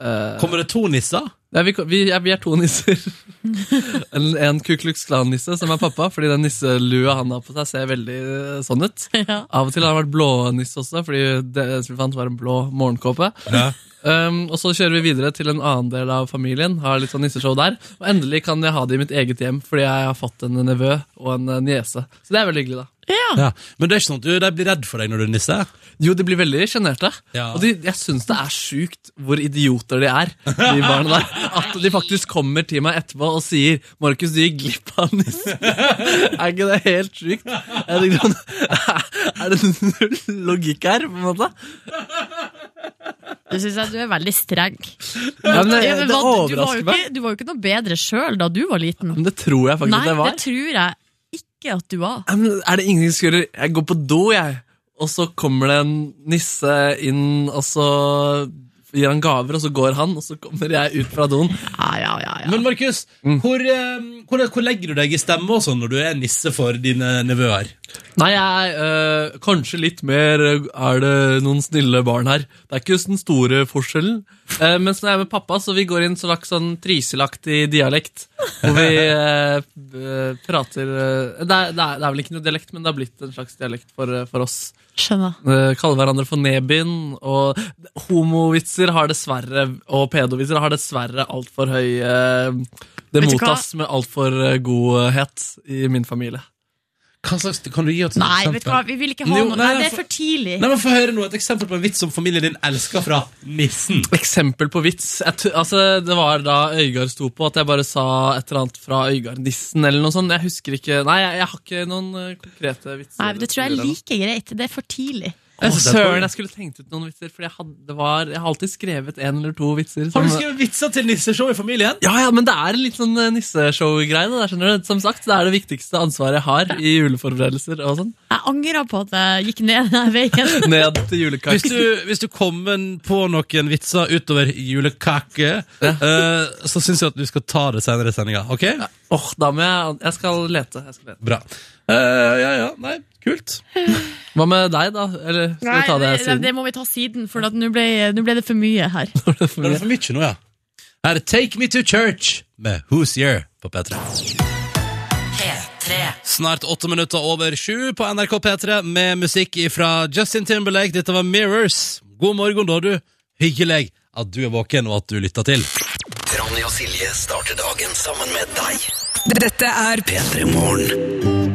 Speaker 4: Eh,
Speaker 2: kommer det to nisser?
Speaker 4: ja, vi, vi, ja, vi er to nisser. en, en Ku Klux Klan-nisse, som er pappa, fordi den nisselua han har på seg, ser veldig eh, sånn ut.
Speaker 3: Ja.
Speaker 4: Av og til har han vært blå nisse også, fordi det som vi fant, var en blå morgenkåpe. Um, og så kjører vi videre til en annen del av familien. Har litt sånn nisseshow der Og endelig kan jeg ha det i mitt eget hjem, fordi jeg har fått en nevø og en eh, niese. Så det er veldig hyggelig, da.
Speaker 2: Ja. Men det er ikke sånn at du, de blir redd for deg når du er nisse?
Speaker 4: Jo, de blir veldig sjenerte.
Speaker 2: Ja.
Speaker 4: Og de, jeg syns det er sjukt hvor idioter de er, de barna der. At de faktisk kommer til meg etterpå og sier 'Markus, du gikk glipp av nissen'. er ikke det helt sjukt? Jeg tenkte, sånn, er det null logikk her, på en måte?
Speaker 3: Du syns jeg du er veldig streng.
Speaker 4: Ja, men,
Speaker 3: Ja,
Speaker 4: det
Speaker 3: men hva- du, var jo
Speaker 4: overrasker meg.
Speaker 3: ikke, du var jo ikke noe bedre sjøl da du var liten.
Speaker 4: Men det tror jeg faktisk
Speaker 3: Nei,
Speaker 4: jeg var.
Speaker 3: det tror jeg ikke at du var.
Speaker 4: Ja, men er det ingen som skulle Jeg går på do, jeg. Og så kommer det en nisse inn, og så gir han gaver, og så går han, og så kommer jeg ut fra doen.
Speaker 3: Ja, ja, ja, ja.
Speaker 2: Men Markus, hvor, eh, hvor, hvor legger du deg i stemme og sånn når du er nisse for dine nevøer?
Speaker 4: Nei, jeg øh, Kanskje litt mer øh, Er det noen snille barn her? Det er ikke den store forskjellen. Eh, mens når jeg er med pappa, så vi går i en slags sånn trysilaktig dialekt. Hvor vi eh, eh, prater eh, det, er, det, er, det er vel ikke noe dialekt, men det har blitt en slags dialekt for, eh, for oss.
Speaker 3: Skjønner.
Speaker 4: Eh, kaller hverandre for nebyen, og homovitser har dessverre og pedovitser har dessverre altfor høy eh, Det
Speaker 3: Vet du hva?
Speaker 4: mottas med altfor uh, godhet i min familie.
Speaker 2: Hva slags, kan du gi oss et
Speaker 3: Nei,
Speaker 2: eksempel?
Speaker 3: vet du hva, vi vil ikke ha
Speaker 2: Jo,
Speaker 3: noe.
Speaker 2: nei,
Speaker 3: Nei, det er
Speaker 2: for-
Speaker 3: for tidlig.
Speaker 2: Nei, men Få høre nå et eksempel på en vits som familien din elsker fra nissen.
Speaker 4: Eksempel på vits. Jeg tu- altså, det var da Øygard sto på, at jeg bare sa et eller annet fra Øygard-nissen eller noe sånt. Jeg husker ikke Nei, jeg, jeg har ikke noen eh, konkrete vitser.
Speaker 3: Nei, men Det tror jeg er like greit. Det er for tidlig.
Speaker 4: Å,
Speaker 2: Jeg synes det er
Speaker 4: søren,
Speaker 2: bra.
Speaker 4: jeg skulle tenkt ut noen vitser, for jeg, hadde, det var, jeg har alltid skrevet en eller to vitser.
Speaker 2: Har
Speaker 4: som-
Speaker 2: du skrevet vitser til nisseshow i familien?
Speaker 4: Ja, ja, men det er en litt sånn eh, nisseshow-greie. det der, skjønner du. Som sagt, det er det viktigste ansvaret jeg har i juleforberedelser og sånn.
Speaker 3: Jeg angrer på at jeg gikk ned den veien.
Speaker 4: Ned til
Speaker 2: Hvis
Speaker 4: julekake.
Speaker 2: du, hvis du kommer på noen vitser utover julekake, eh, så syns jeg at du skal ta det senere i sendinga. Ok?
Speaker 4: Åh, da må jeg Jeg skal lete. jeg skal lete.
Speaker 2: Bra. Eh, ja, ja. Nei, kult.
Speaker 4: Hva med deg, da? Eller skal vi ta det
Speaker 3: det,
Speaker 4: siden?
Speaker 3: må vi ta siden, for at nå ble, nå ble det for mye her.
Speaker 2: Da er det for mye nå, ja. Her er Take Me To Church med Who's Here på P3.
Speaker 8: P3.
Speaker 2: Snart åtte minutter over sju på NRK P3 med musikk fra Justin Timberlake. Dette var Mirrors. God morgen, da, du. Hyggelig at du er våken, og at du lytter til.
Speaker 1: Ronny og Silje starter dagen sammen med deg.
Speaker 9: Dette er
Speaker 1: P3 Morgen.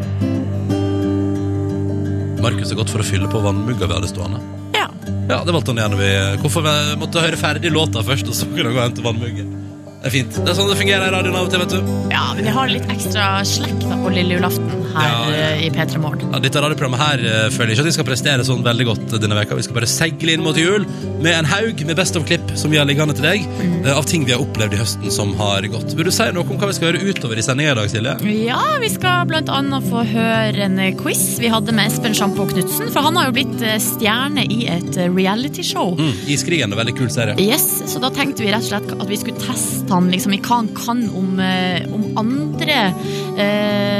Speaker 2: Markus er godt for å fylle på vannmugga vi hadde stående.
Speaker 3: Ja.
Speaker 2: Ja, det valgte han igjen. Vi, hvorfor vi måtte høre ferdig låta først, og så kunne vi gå og hente vannmuggen. Det er fint. Det er sånn det fungerer i radioen av og til, vet du.
Speaker 3: ja, men vi har litt ekstra slekk da på lille julaften her
Speaker 2: Ja, ja.
Speaker 3: eh, i P3 Morgen.
Speaker 2: Ja, dette radioprogrammet her eh, føler jeg ikke at vi skal prestere sånn veldig godt eh, denne veka. Vi skal bare segle inn mot jul med en haug med Best of-klipp som vi har liggende til deg,
Speaker 3: Mm.
Speaker 2: eh, av ting vi har opplevd i høsten som har gått. Vil du si noe om hva vi skal gjøre utover i sendinga i dag, Silje?
Speaker 3: Ja, vi skal blant annet få høre en eh, quiz vi hadde med Espen Sjampo Knutsen, for han har jo blitt eh, stjerne i et eh, realityshow.
Speaker 2: Mm, Iskrigen er en veldig kul serie.
Speaker 3: Yes, så da tenkte vi rett og slett at vi skulle teste han liksom, i hva han kan om, eh, om andre eh,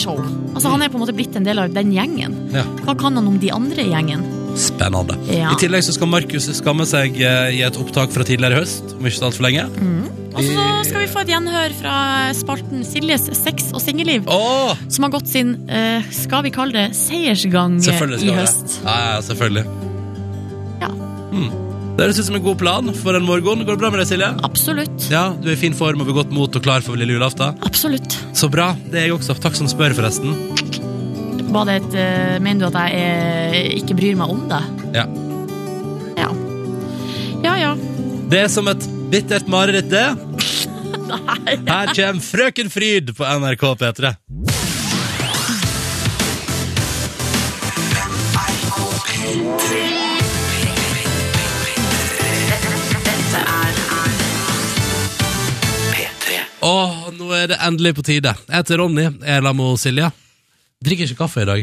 Speaker 3: show. Altså Han er på en måte blitt en del av den gjengen.
Speaker 2: Ja.
Speaker 3: Hva kan han om de andre i gjengen?
Speaker 2: Spennende.
Speaker 3: Ja.
Speaker 2: I tillegg så skal Markus skamme seg eh, i et opptak fra tidligere i høst, om ikke så altfor lenge.
Speaker 3: Mm. Og så skal vi få et gjenhør fra spalten Siljes sex og singelliv,
Speaker 2: Åh,
Speaker 3: som har gått sin eh, skal vi kalle det seiersgang eh,
Speaker 2: selvfølgelig
Speaker 3: i
Speaker 2: skal vi det.
Speaker 3: høst.
Speaker 2: Ja, ja, selvfølgelig.
Speaker 3: Ja.
Speaker 2: Hmm. Det høres ut som en god plan for en morgen. Går det bra med deg, Silje?
Speaker 3: Absolutt.
Speaker 2: Ja, du er i fin form og ved godt mot og klar for lille julaften.
Speaker 3: Absolutt.
Speaker 2: Så bra. Det er jeg også. Takk som spør, forresten.
Speaker 3: Var det et, eh, mener du at jeg eh, ikke bryr meg om det?
Speaker 2: Ja.
Speaker 3: Ja. Ja, ja.
Speaker 2: Det er som et bittert mareritt, det. Her kommer Frøken Fryd på NRK P3. Åh, nå er det endelig på tide. Jeg heter Ronny, jeg er sammen med Silje. Drikker ikke kaffe i dag.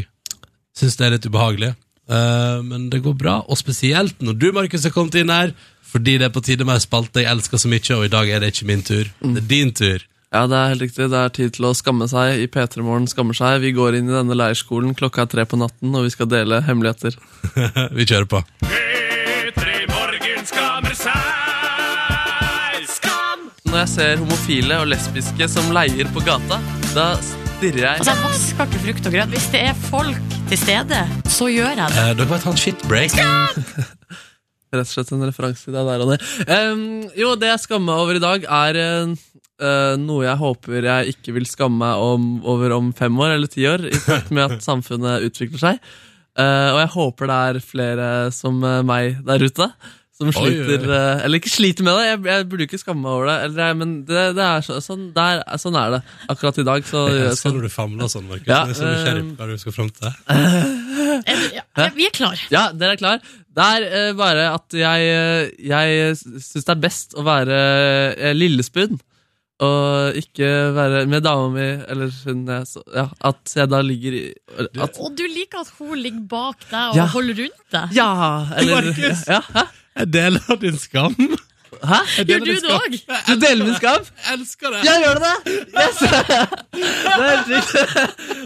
Speaker 2: Syns det er litt ubehagelig. Eh, men det går bra, og spesielt når du, Markus, har kommet inn her. Fordi det er på tide med en spalte jeg elsker så mye, og i dag er det ikke min tur. Det er din tur.
Speaker 4: Ja, det er helt riktig. Det er tid til å skamme seg. I P3 Morgen skammer seg. Vi går inn i denne leirskolen klokka er tre på natten, og vi skal dele hemmeligheter.
Speaker 2: Vi kjører på.
Speaker 4: Når jeg ser homofile og lesbiske som leier på gata, da stirrer jeg
Speaker 3: Altså, jeg vasker ikke frukt og grønt. Hvis det er folk til stede, så gjør jeg det.
Speaker 2: Eh, dere vet han shitbreak?
Speaker 4: Rett og slett en referanse til deg der, Ronny. Em, jo, det jeg skammer meg over i dag, er eh, eh, noe jeg håper jeg ikke vil skamme meg om, over om fem år eller ti år, i takt med at samfunnet utvikler seg. Eh, og jeg håper det er flere som eh, meg der ute, som
Speaker 2: oi, oi.
Speaker 4: sliter eh, Eller ikke sliter med det, jeg, jeg burde jo ikke skamme meg over det, eller, jeg- men det, det er så, sånn, der, sånn er det akkurat i dag. Så,
Speaker 2: Jeg elsker
Speaker 4: så,
Speaker 2: når du famler sånn, Markus.
Speaker 4: Ja,
Speaker 2: jeg er så nysgjerrig på hva du skal fram til.
Speaker 3: Er du- ja, ja, Vi er klar.
Speaker 4: ja, dere er klar? Det er eh, bare at jeg, eh, jeg syns det er best å være eh, lillespund. Og ikke være med dama mi, eller hun jeg så Ja, at jeg da ligger i at,
Speaker 3: Og du liker at hun ligger bak deg og
Speaker 4: Ja.
Speaker 3: holder rundt deg.
Speaker 4: Ja! Eller,
Speaker 2: Markus!
Speaker 4: ja, hæ?
Speaker 2: Jeg deler din skam.
Speaker 4: hæ?
Speaker 3: Gjør du det òg?
Speaker 4: Du deler min skam?
Speaker 2: Jeg elsker det!
Speaker 4: Jeg gjør det! Yes! Det er helt riktig.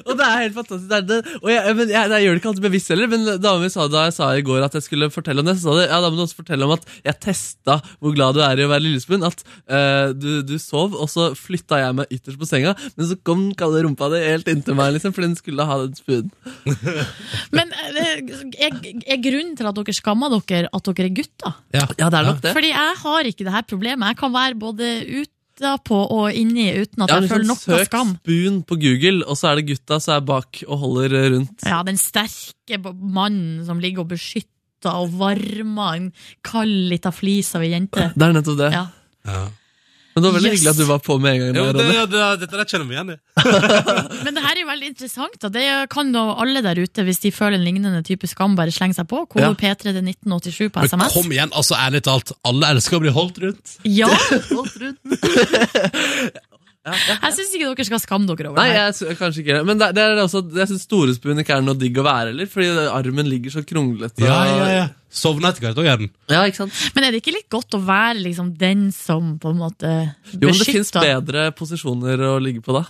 Speaker 4: Og det er helt fantastisk. Det er det. Og jeg, men jeg, jeg gjør det ikke alltid bevisst heller, men dama mi sa da jeg sa i går at jeg skulle fortelle om det, så sa det, ja, da må du også fortelle om at jeg testa hvor glad du er i å være lillespund. At eh, du, du sov, og så flytta jeg meg ytterst på senga, men så kom den kalde rumpa di helt inntil meg, liksom, fordi den skulle ha den spuden.
Speaker 3: Men eh, er, er grunnen til at dere skammer dere, at dere er gutter?
Speaker 2: Ja.
Speaker 4: Ja, det er nok det.
Speaker 3: Fordi jeg har ikke det her problemet. Jeg kan være både utapå og inni uten at
Speaker 4: Ja,
Speaker 3: jeg
Speaker 4: liksom,
Speaker 3: føler noe
Speaker 4: søk
Speaker 3: skam.
Speaker 4: spoon på Google, og så er det gutta som er bak og holder rundt.
Speaker 3: Ja, den sterke b- mannen som ligger og beskytter og varmer en kald lita flis av ei jente.
Speaker 4: Det er nettopp det.
Speaker 3: Ja.
Speaker 2: Ja.
Speaker 4: Men det var veldig
Speaker 3: Yes.
Speaker 4: hyggelig at du var på med en gang.
Speaker 2: Jo,
Speaker 4: Ronny.
Speaker 2: det, det, det, dette der kjenner vi igjen i.
Speaker 3: Men det her er jo veldig interessant. Da. Det kan da alle der ute, hvis de føler en lignende type skam, bare slenge seg på. Kode
Speaker 4: Ja.
Speaker 3: P3 til 1987 på
Speaker 2: Men
Speaker 3: SMS.
Speaker 2: kom igjen, altså ærlig talt. Alle elsker å bli holdt rundt.
Speaker 3: Ja,
Speaker 4: Ja, ja.
Speaker 3: jeg syns ikke dere skal skamme dere over
Speaker 4: Nei,
Speaker 3: det. her.
Speaker 4: jeg, sy- kanskje ikke. Men det, det er også, jeg syns storespuen ikke er noe digg å være heller, fordi armen ligger så kronglete.
Speaker 2: Sovna etter hvert òg, gjør den.
Speaker 4: Ja, ikke sant?
Speaker 3: Men er det ikke litt godt å være liksom, den som på en måte
Speaker 4: Jo, men det fins
Speaker 3: beskytter?
Speaker 4: bedre posisjoner å ligge på da.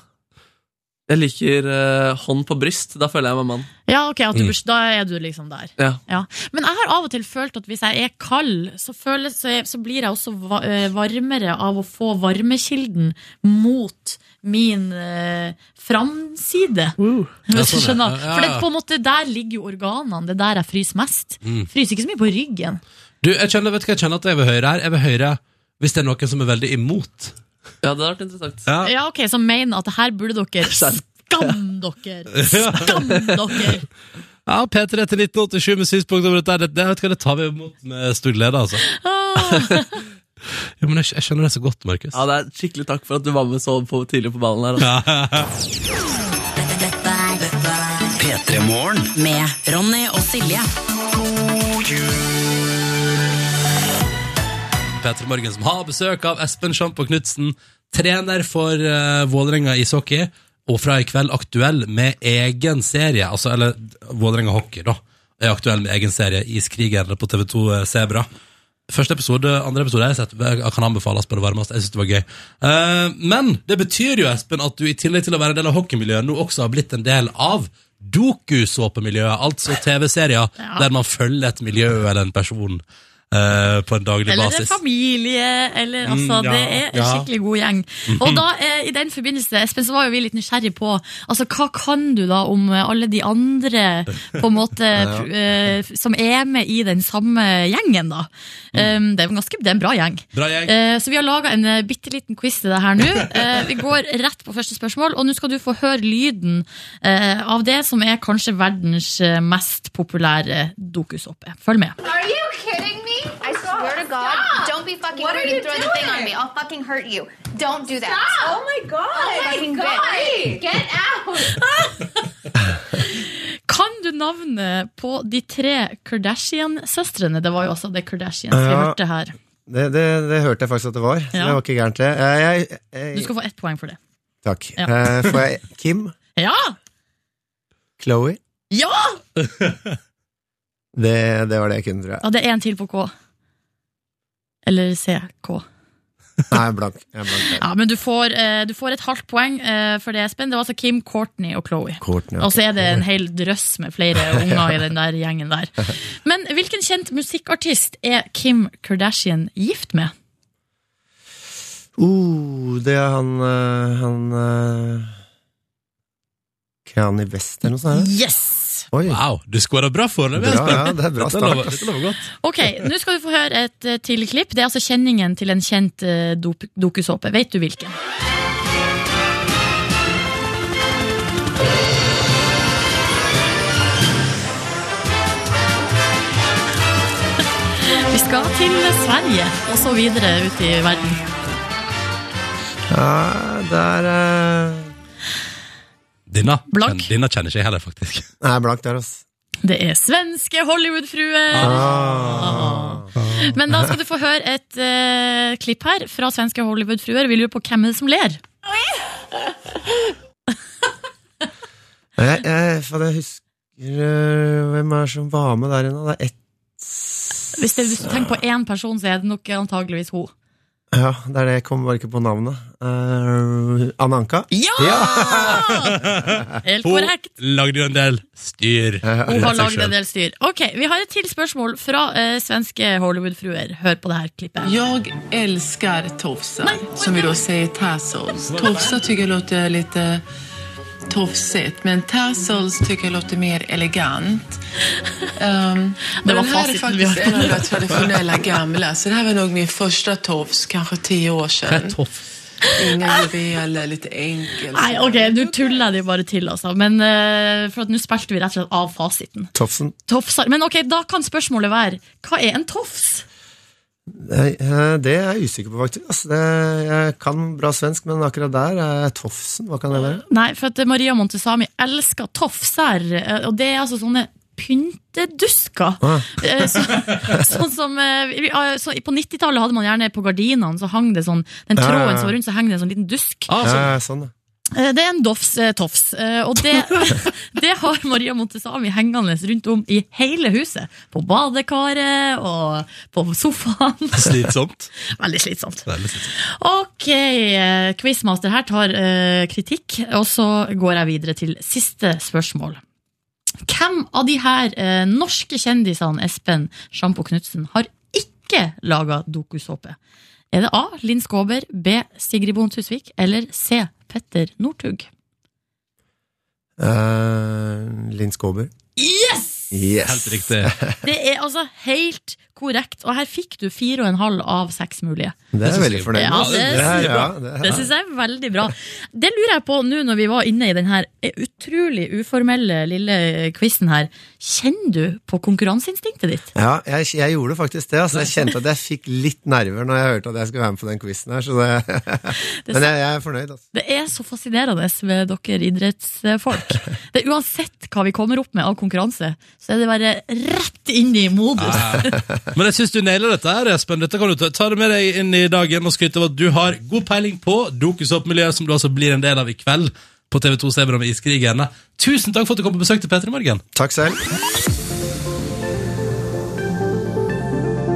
Speaker 4: Jeg liker eh, hånd på bryst. Da føler jeg meg mann.
Speaker 3: Ja, ok, at du,
Speaker 2: Mm.
Speaker 3: bes- Da er du liksom der.
Speaker 4: Ja.
Speaker 3: Men jeg har av og til følt at hvis jeg er kald, så, føles, så, jeg, så blir jeg også va- eh, varmere av å få varmekilden mot min eh, framside. Hvis
Speaker 2: Ja,
Speaker 3: du
Speaker 2: sånn, ja. Ja,
Speaker 3: skjønner.
Speaker 2: ja,
Speaker 3: For det,
Speaker 2: ja.
Speaker 3: på en måte, der ligger jo organene. Det er der jeg fryser mest.
Speaker 2: Mm.
Speaker 3: Fryser ikke så mye på ryggen.
Speaker 2: Du, jeg kjenner, vet du hva jeg kjenner at jeg vil høre her? Jeg vil høre hvis det er noen som er veldig imot.
Speaker 4: ja, det hadde vært interessant.
Speaker 2: Ja.
Speaker 3: Ja, ok, Så mener at det her burde dere Skam dere! Skam dere!
Speaker 2: Ja, P3 til 1987 med synspunkt over dette. Det, det, vet du hva, det tar vi imot med stor glede, altså.
Speaker 3: Ah,
Speaker 2: Jo, men jeg, jeg skjønner det så godt, Markus.
Speaker 4: Ja, det er Skikkelig takk for at du var med så på, tidlig på ballen her. altså.
Speaker 8: Dette, dette er- dette er
Speaker 1: P3-morgen.
Speaker 8: med Ronny og Silje.
Speaker 2: Petter Morgen som har besøk av Espen Sjampo Knudsen, trener for uh, Vålerenga ishockey, og fra i kveld aktuell med egen serie, altså, eller Vålerenga hockey da, er aktuell med egen serie, Iskrigen på TV2 eh, Sebra. Første episode, andre episode jeg har sett, jeg kan anbefales på det varmeste. Jeg synes det var gøy. Eh, men det betyr jo, Espen, at du i tillegg til å være en del av hockeymiljøet, nå også har blitt en del av dokusåpemiljøet, altså TV-serier
Speaker 3: Ja.
Speaker 2: der man følger et miljø eller en person eh, på en daglig
Speaker 3: Eller det er
Speaker 2: basis.
Speaker 3: familie, eller altså
Speaker 2: Mm, ja,
Speaker 3: Det er en
Speaker 2: ja. Mhm.
Speaker 3: skikkelig god gjeng. Og da, eh, i den forbindelse, Espen, så var jo vi litt nysgjerrig på Altså, hva kan du da om eh, alle de andre, på en måte, pr- eh, som er med i den samme gjengen, da? Um, det er jo en ganske, det er en bra gjeng.
Speaker 2: Mm. Bra gjeng.
Speaker 3: Eh, Så vi har laga en eh, bitte liten quiz til det her nå. Eh, Vi går rett på første spørsmål, og nå skal du få høre lyden eh, av det som er kanskje verdens eh, mest populære dokusåpe. Følg med.
Speaker 9: Are you kidding me? I swear to God, don't be fucking
Speaker 10: What
Speaker 9: rude
Speaker 10: are
Speaker 9: and
Speaker 10: you
Speaker 9: throw the thing on
Speaker 10: doing?
Speaker 9: me. I'll fucking hurt you. Don't do that.
Speaker 10: Oh my god!
Speaker 9: fucking
Speaker 10: god! Get out!
Speaker 3: Kan du navnet på de tre Kardashian-søstrene? Det var jo altså det Kardashians vi
Speaker 11: Ja.
Speaker 3: hørte her.
Speaker 11: Det, det, det hørte jeg faktisk at det var. Så
Speaker 3: Ja.
Speaker 11: Det var ikke gærent, det. Eh, Jeg,
Speaker 3: Du
Speaker 11: jeg,
Speaker 3: skal få ett poeng for det.
Speaker 11: takk.
Speaker 3: Ja.
Speaker 11: Eh, Får jeg Kim,
Speaker 3: Ja!
Speaker 11: Chloé
Speaker 3: Ja!
Speaker 11: det, det var det jeg kunne, tror jeg.
Speaker 3: ja det er en til på K. Eller CK.
Speaker 11: Nei, blank. Jeg er blank der.
Speaker 3: Ja, men du får, eh, du får et halvt poeng eh, for det, Espen. Det var altså Kim, Courtney og Chloé.
Speaker 11: Courtney, ok.
Speaker 3: Og så er det en hel drøss med flere unger i den der gjengen der. Men hvilken kjent musikkartist er Kim Kardashian gift med?
Speaker 11: Oh, det er han eh, Han eh, Kanye West eller noe sånt? er det?
Speaker 3: Yes!
Speaker 11: Oi.
Speaker 2: Wow, du skåra bra foreløpig,
Speaker 11: Bra,
Speaker 2: Espen.
Speaker 11: ja, det er bra
Speaker 2: Dette lover,
Speaker 11: start.
Speaker 2: dette lover godt.
Speaker 3: Ok, nå skal du få høre et eh, til klipp. Det er altså kjenningen til en kjent eh, dop- dokusåpe. Vet du hvilken? Vi skal til Sverige, og så videre ut i verden.
Speaker 11: Ja, det er eh,
Speaker 2: Denne,
Speaker 3: Blank.
Speaker 2: kjenner- denne kjenner ikke jeg heller, faktisk.
Speaker 11: Nei, blank der, altså.
Speaker 3: Det er svenske Hollywood-fruer!
Speaker 11: Ah.
Speaker 3: Men da skal du få høre et eh, klipp her fra svenske Hollywood-fruer. Vi lurer på hvem er det som ler.
Speaker 11: Jeg, jeg, faen, jeg husker eh, Hvem er det som var med der inne? Det er ett
Speaker 3: Hvis, det, hvis du tenker på én person, så er det nok antageligvis hun.
Speaker 11: Ja, det er det. Jeg kom bare ikke på navnet. Uh, Ananka?
Speaker 3: Ja! Helt
Speaker 2: Hun
Speaker 3: korrekt.
Speaker 2: lagde jo en del styr.
Speaker 11: Eh,
Speaker 3: Hun har
Speaker 2: Seg
Speaker 3: lagd
Speaker 2: selv.
Speaker 3: en del styr. Ok, Vi har et til spørsmål fra eh, svenske Hollywood-fruer. Hør på det her klippet.
Speaker 10: Jag älskar tofsar, som vi då säger tassels. Tofsar tycker jag låter lite tofsigt, men tassels tycker jag låter mer elegant. Ehm,
Speaker 3: Det
Speaker 10: men
Speaker 3: var
Speaker 10: den här är
Speaker 3: facit vi
Speaker 10: faktiskt
Speaker 3: har.
Speaker 10: en av de traditionella gamla, så det här var nog min första tofs, kanske tio år sedan. Inga juveler, lite enkelt.
Speaker 3: Nei, ok, Nå tuller jeg det bare til, altså. Men eh, for at nå spilte vi rett og slett av fasiten.
Speaker 11: Tofsen.
Speaker 3: Tofsar. Men ok, da kan spørsmålet være hva er en tofs?
Speaker 11: Nei, eh, Det er jeg usikker på, faktisk. Altså, det, jeg kan bra svensk, men akkurat der er Tofsen. Hva kan det være?
Speaker 3: Nei, for at Maria Montesami elsker tofser, eh, og det er altså sånne Pyntedusker.
Speaker 11: Ah.
Speaker 3: Eh, Så, sånn som eh, vi- eh, så På 90-tallet hadde man gjerne på gardinene Så hang det sånn, den
Speaker 11: Ja, ja, ja.
Speaker 3: tråden som var rundt, så hang det en sånn liten dusk.
Speaker 2: Ah,
Speaker 4: altså,
Speaker 11: Ja,
Speaker 2: sånn.
Speaker 11: ja, sånn, ja.
Speaker 3: Eh, Det er en dofs eh, tofs, eh, og det, det har Maria Montesami hengende rundt om i hele huset. På badekaret og på sofaen.
Speaker 2: Slitsomt.
Speaker 3: Veldig slitsomt.
Speaker 2: Veldig slitsomt.
Speaker 3: Ok, eh, quizmaster her tar eh, kritikk, og så går jeg videre til siste spørsmål. Hvem av de her eh, norske kjendisene, Espen Sjampo Knutsen, har ikke laga dokusåpe? Er det A. Linn Skåber, B. Sigrid Bonde Tusvik eller C. Petter Northug?
Speaker 11: Eh, Linn Skåber.
Speaker 3: Yes!
Speaker 11: Yes!
Speaker 2: Helt riktig.
Speaker 3: Det er altså helt korrekt, og her fikk du fire og en halv av seks mulige.
Speaker 11: Det er jeg veldig fornøyd
Speaker 3: Ja,
Speaker 11: med.
Speaker 3: det
Speaker 11: er,
Speaker 2: synes jeg
Speaker 11: ja,
Speaker 2: bra.
Speaker 11: det er.
Speaker 3: Det syns jeg er veldig bra. Det lurer jeg på nå når vi var inne i den her eh, utrolig uformelle lille quizen her. Kjenner du på konkurranseinstinktet ditt?
Speaker 11: Ja, jeg, jeg gjorde faktisk det. Altså, jeg kjente at jeg fikk litt nerver når jeg hørte at jeg skulle være med på den quizen her. Så det,
Speaker 3: Det
Speaker 11: men
Speaker 3: er,
Speaker 11: jeg, jeg er fornøyd, altså.
Speaker 3: det er så fascinerende med dere idrettsfolk. Det er Uansett hva vi kommer opp med av konkurranse, så er det bare rett inn i modus.
Speaker 2: Men jeg syns du nailer dette, her, Espen. Dette kan du ta, ta det med deg inn i dagen og skryte av at du har god peiling på Dokusåpmiljøet, som du altså blir en del av i kveld på TV2 Sebron og Iskrigerne. Tusen takk for at du kom på besøk til P3 Morgen.
Speaker 11: Takk selv.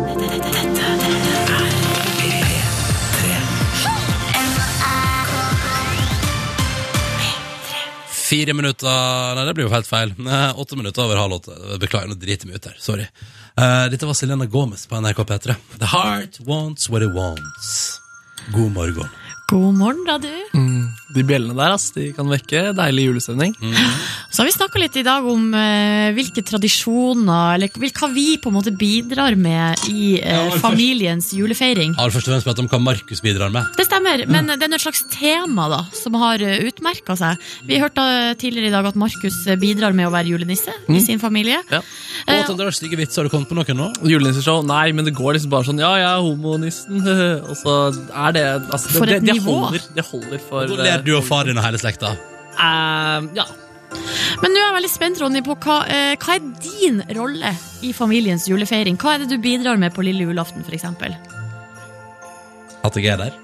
Speaker 3: Dette, dette, dette
Speaker 2: Fire minutter Nei, det blir jo helt feil. Nei, åtte minutter over halv åtte. Beklager, nå driter jeg meg ut her. Sorry. Eh, dette var Selena Gomez på NRK P3. The heart wants what it wants. God morgen.
Speaker 3: God morgen, da, du.
Speaker 4: mm, De bjellene der ass, de kan vekke deilig julestemning.
Speaker 2: Mm.
Speaker 3: Så har vi snakka litt i dag om eh, hvilke tradisjoner, eller hvil- hva vi på en måte bidrar med i eh,
Speaker 2: Ja, men først-
Speaker 3: familiens
Speaker 2: Jeg
Speaker 3: julefeiring.
Speaker 2: har først og fremst pratet om hva Markus bidrar med.
Speaker 3: Det stemmer, men det er noe slags tema da som har utmerka seg. Vi hørte eh, tidligere i dag at Markus eh, bidrar med å være julenisse i sin familie.
Speaker 4: Ja.
Speaker 3: Eh,
Speaker 2: Å, Tandra, stygge vits, har du kommet på noen nå?
Speaker 4: Julenisseshow? Nei, men det går liksom bare sånn Ja, jeg er homonissen. Og så er det altså, det-
Speaker 2: For et
Speaker 4: det, det
Speaker 2: nivå.
Speaker 4: holder, det holder for
Speaker 2: Da ler du og far din og hele slekta.
Speaker 4: eh, ja.
Speaker 3: Men nå er jeg veldig spent, Ronny, på hva, eh, hva er din rolle i familiens julefeiring? Hva er det du bidrar med på lille julaften, f.eks.?
Speaker 2: At jeg er der.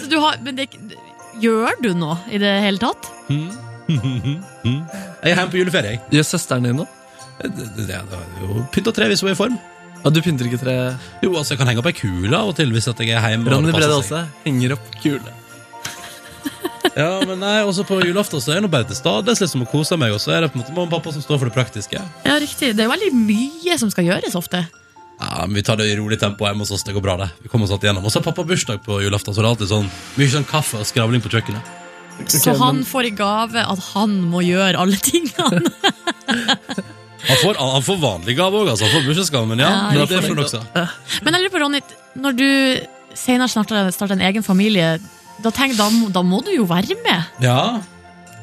Speaker 3: Så du har, men det, gjør du noe i det hele tatt?
Speaker 2: Jeg er hjemme på juleferie, jeg. Eh,
Speaker 4: Gjør søsteren din noe?
Speaker 2: Pynt og tre hvis hun er i form.
Speaker 4: Ja, du pynter ikke tre?
Speaker 2: Jo, altså, jeg kan henge opp ei kule av og til hvis at jeg er hjemme. og
Speaker 4: Ronny
Speaker 2: det passer
Speaker 4: Brede
Speaker 2: seg.
Speaker 4: også henger opp kule.
Speaker 2: Ja, men nei, også på julaften så er jeg nå bare til stades liksom, og koser meg, og så er det på en måte mamma og pappa som står for det praktiske.
Speaker 3: Ja, riktig. Det er jo veldig mye som skal gjøres ofte.
Speaker 2: Ja, men Vi tar det i rolig tempo hjemme hos oss. Det går bra, det. Vi kommer oss alltid gjennom. Og så har pappa bursdag på julaften, så det er alltid sånn mye sånn kaffe og skravling på kjøkkenet.
Speaker 3: Så han får i gave at han må gjøre alle tingene.
Speaker 2: Han får, han får vanlig gave òg, altså. Han får bursdagsgave, men ja.
Speaker 3: Ja,
Speaker 2: men
Speaker 3: riktig.
Speaker 2: det får han også.
Speaker 3: Men jeg lurer på, Ronny, når du senere starter, starter en egen familie, da, tenk, da, må- da må du jo være med.
Speaker 2: Ja.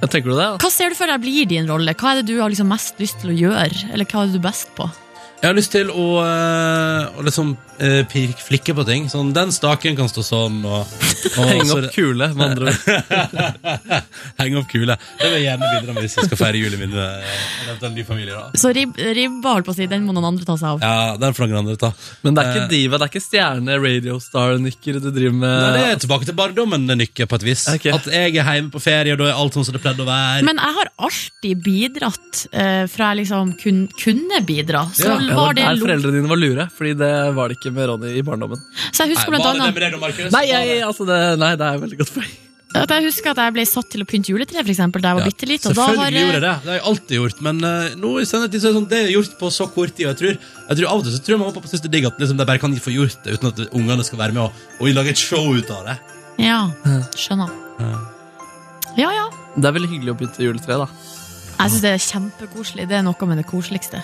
Speaker 4: Tenker du det?
Speaker 3: Hva ser du for deg blir din rolle? Hva er det du har liksom mest lyst til å gjøre? Eller hva er det du er best på?
Speaker 2: Jeg har lyst til å, eh, å liksom eh, pirk, flikke på ting. Sånn, Den staken kan stå sånn, og, og
Speaker 4: Henge
Speaker 2: så
Speaker 4: opp
Speaker 2: det-
Speaker 4: kule, med andre ord.
Speaker 2: Henge opp kule. Det vil jeg gjerne bidra med hvis jeg skal feire jul i min eh, eventuelt nye familie. da
Speaker 3: Så rib, ribba, holdt på å si, den må noen andre ta seg av.
Speaker 2: Ja, den får noen andre ta.
Speaker 4: Men det er ikke
Speaker 2: Eh,
Speaker 4: diva, det er ikke stjerne radiostar-nykker du driver med?
Speaker 2: Nei, det er tilbake til barndommen, det nykker på et vis. At jeg er hjemme på ferie, og da er alt sånn som det pleide å være.
Speaker 3: Men jeg har alltid bidratt eh, fra jeg liksom kun, kunne bidra. Så
Speaker 4: Ja, det
Speaker 3: var
Speaker 4: var
Speaker 3: det
Speaker 4: der
Speaker 3: lov.
Speaker 4: foreldrene dine var lure, Fordi det var det ikke med Ronny i barndommen.
Speaker 3: Så jeg husker blant annet
Speaker 4: Nei, jeg, altså det, nei, det er et veldig godt poeng.
Speaker 3: At jeg husker at jeg ble satt til å pynte juletre, for eksempel, da jeg var bitte liten.
Speaker 2: Selvfølgelig gjorde jeg det. Det har jeg alltid gjort. Men eh, nå i senere tid så er det sånn, det er gjort på så kort tid. og Jeg tror, jeg tror Av og til så tror jeg mamma og pappa syns det er digg at liksom, de bare kan få gjort det uten at ungene skal være med og, og lage et show ut av det.
Speaker 3: Ja, skjønner. Ja, ja.
Speaker 4: Det er veldig hyggelig å bytte juletre, da.
Speaker 3: Jeg syns det er kjempekoselig. Det er noe med det koseligste.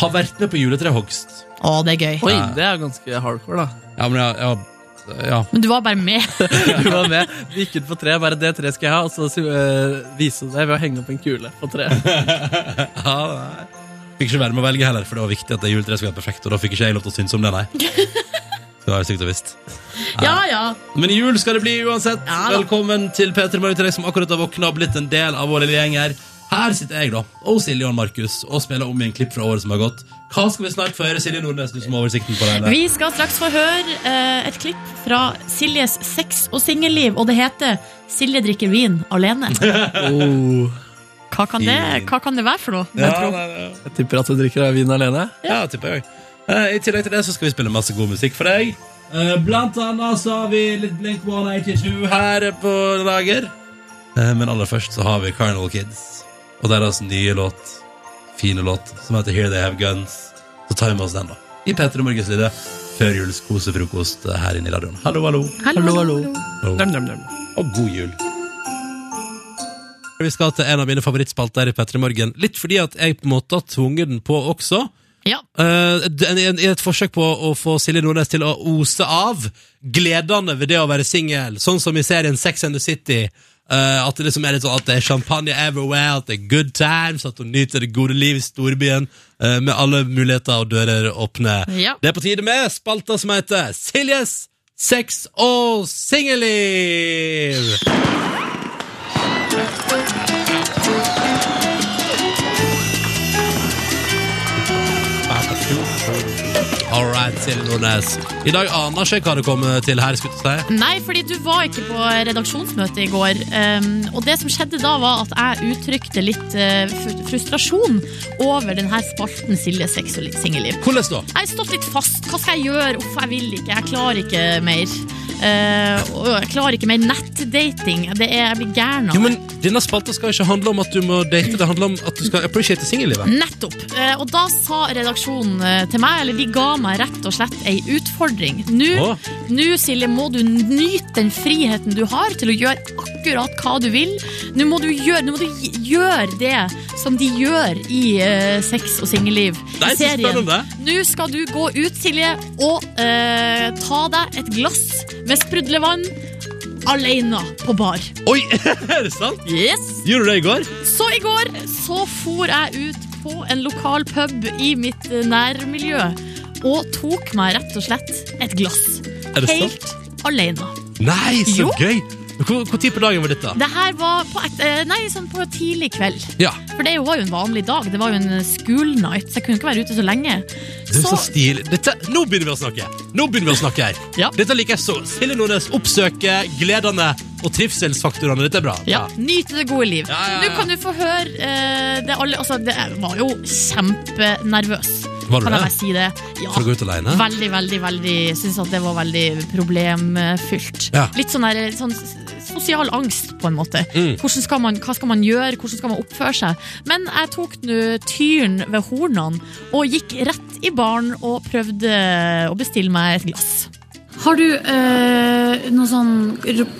Speaker 2: Har vært med på juletrehogst.
Speaker 3: Å, det er gøy.
Speaker 4: Oi, det er ganske hardcore, da.
Speaker 2: Ja, men ja, ja, ja.
Speaker 3: Men du var bare med.
Speaker 4: Du var med, du gikk ut på treet, bare det treet skal jeg ha, og så eh, vise det ved å henge opp en kule på treet.
Speaker 2: ja nei. Fikk ikke være med å velge heller, for det var viktig at det juletreet skulle være perfekt. Og da fikk ikke jeg lov til å synes om det, nei. Det har jeg sikkert visst.
Speaker 3: Ja, ja.
Speaker 2: Men jul skal det bli uansett. Velkommen til P3 Morgen til deg som akkurat har våkna og blitt en del av vår lille gjeng her. Her sitter jeg, da, og Silje og Markus, og spiller om igjen klipp fra året som har gått. Hva skal vi snart få høre, Silje Nordnes, du som har oversikten på det? hele?
Speaker 3: Vi skal straks få høre eh, et klipp fra Siljes sex- og singelliv, og det heter 'Silje drikker vin alene'. Oh. Hva kan det, hva kan det være for noe?
Speaker 2: Ja,
Speaker 3: Jeg tror-
Speaker 2: nei, nei.
Speaker 4: Jeg tipper at du drikker vin alene.
Speaker 2: ja, tipper jeg. Eh, I tillegg til det så skal vi spille masse god musikk for deg. Eh, Blant annet så har vi litt Blink 182 her på lager. Eh, Men aller først så har vi Carnival Kids og deres nye låt, fine låt, som heter Here They Have Guns. Så tar vi med oss den, da. I P3 Morgens lille førjulskosefrokost eh, her inne i radioen. Hallo, hallo.
Speaker 4: Hallo, hallo.
Speaker 2: Hallo.
Speaker 4: Dam, dam, dam.
Speaker 2: Og god jul. Vi skal til en av mine favorittspalter i P3 Morgen. Litt fordi at jeg på en måte har tvunget den på også.
Speaker 3: Ja.
Speaker 2: Eh, d- en- en- I et forsøk på å få Silje Nordnes til å ose av gledene ved det å være singel, sånn som i serien Sex and the City. eh, at det liksom er litt sånn at det er champagne everywhere, at det er good times, at hun nyter det gode liv i storbyen eh, med alle muligheter og dører åpne.
Speaker 1: Ja.
Speaker 2: Det er på tide med spalta som heter Siljes sex og singelliv! All right, Silje Nordnes. I dag aner ikke jeg hva det kommer til her. skulle jeg si.
Speaker 3: Nei, fordi du var ikke på redaksjonsmøte i går. ehm, og det som skjedde da, var at jeg uttrykte litt eh, fr- frustrasjon over denne spalten Silje sex og litt singelliv.
Speaker 2: Hvordan da?
Speaker 3: Jeg har stått litt fast. Hva skal jeg gjøre? Uff, jeg vil ikke. Jeg klarer ikke mer. Eh, og jeg klarer ikke mer nettdating. Det er, jeg blir gæren av
Speaker 2: Jo,
Speaker 3: det.
Speaker 2: men Denne spalta skal ikke handle om at du må date, det handler om at du skal appreciate singellivet.
Speaker 3: Nettopp. Eh, Og da sa redaksjonen eh, til meg, eller de ga meg rett og slett ei utfordring. Nå,
Speaker 2: Åh.
Speaker 3: nå, Silje, må du nyte den friheten du har til å gjøre akkurat hva du vil. Nå må du gjøre, nå må du gi- gjøre det som de gjør i eh, Sex og singelliv.
Speaker 2: Nei,
Speaker 3: i
Speaker 2: så
Speaker 3: serien.
Speaker 2: spennende.
Speaker 3: Nå skal du gå ut, Silje, og eh, ta deg et glass med sprudlevann alene på bar.
Speaker 2: Oi, er det sant?
Speaker 3: Yes!
Speaker 2: Gjorde du det i går?
Speaker 3: Så i går så for jeg ut på en lokal pub i mitt eh, nærmiljø og tok meg rett og slett et glass.
Speaker 2: Er det sant?
Speaker 3: Helt alene.
Speaker 2: Nei, så
Speaker 3: Jo.
Speaker 2: gøy! Hvor, hvor tid på dagen var dette?
Speaker 3: Det her var på, et, eh, nei, sånn på tidlig kveld.
Speaker 2: Ja,
Speaker 3: For det var jo en vanlig dag. Det var jo en school night, så jeg kunne ikke være ute så lenge.
Speaker 2: det er så stilig. Dette, nå begynner vi å snakke! Nå begynner vi å snakke her. Dette liker jeg så. Silje Nordnes oppsøker gledene og trivselsfaktorene. Dette er bra.
Speaker 3: Ja, Nyte det gode liv.
Speaker 2: ja, ja.
Speaker 3: Nå kan du få høre eh, det alle Altså, det, jeg var jo kjempenervøs.
Speaker 2: Var du
Speaker 3: kan
Speaker 2: det?
Speaker 3: jeg bare si det? Ja.
Speaker 2: For å gå ut alene?
Speaker 3: Veldig, veldig, veldig Syns at det var veldig problemfylt.
Speaker 2: Ja.
Speaker 3: Litt sånn, der, sånn s- sosial angst, på en måte.
Speaker 2: Mm.
Speaker 3: Hvordan skal man, hva skal man gjøre, hvordan skal man oppføre seg? Men jeg tok nå tyren ved hornene og gikk rett i baren og prøvde å bestille meg et glass. Har du noe sånn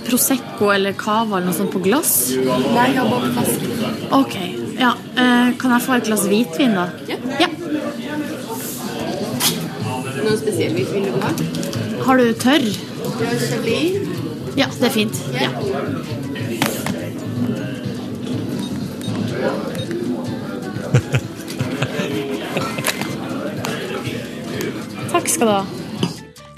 Speaker 3: Prosecco eller Cava eller noe sånt på glass?
Speaker 12: Nei, jeg har bare flaske.
Speaker 3: Ok, ja. eh, kan jeg få et glass hvitvin, da? Ja.
Speaker 12: Noen spesiell vi vil du ha?
Speaker 3: Har du tørr?
Speaker 12: Det er Chablis.
Speaker 3: Ja, det er fint. Ja. Takk skal du ha.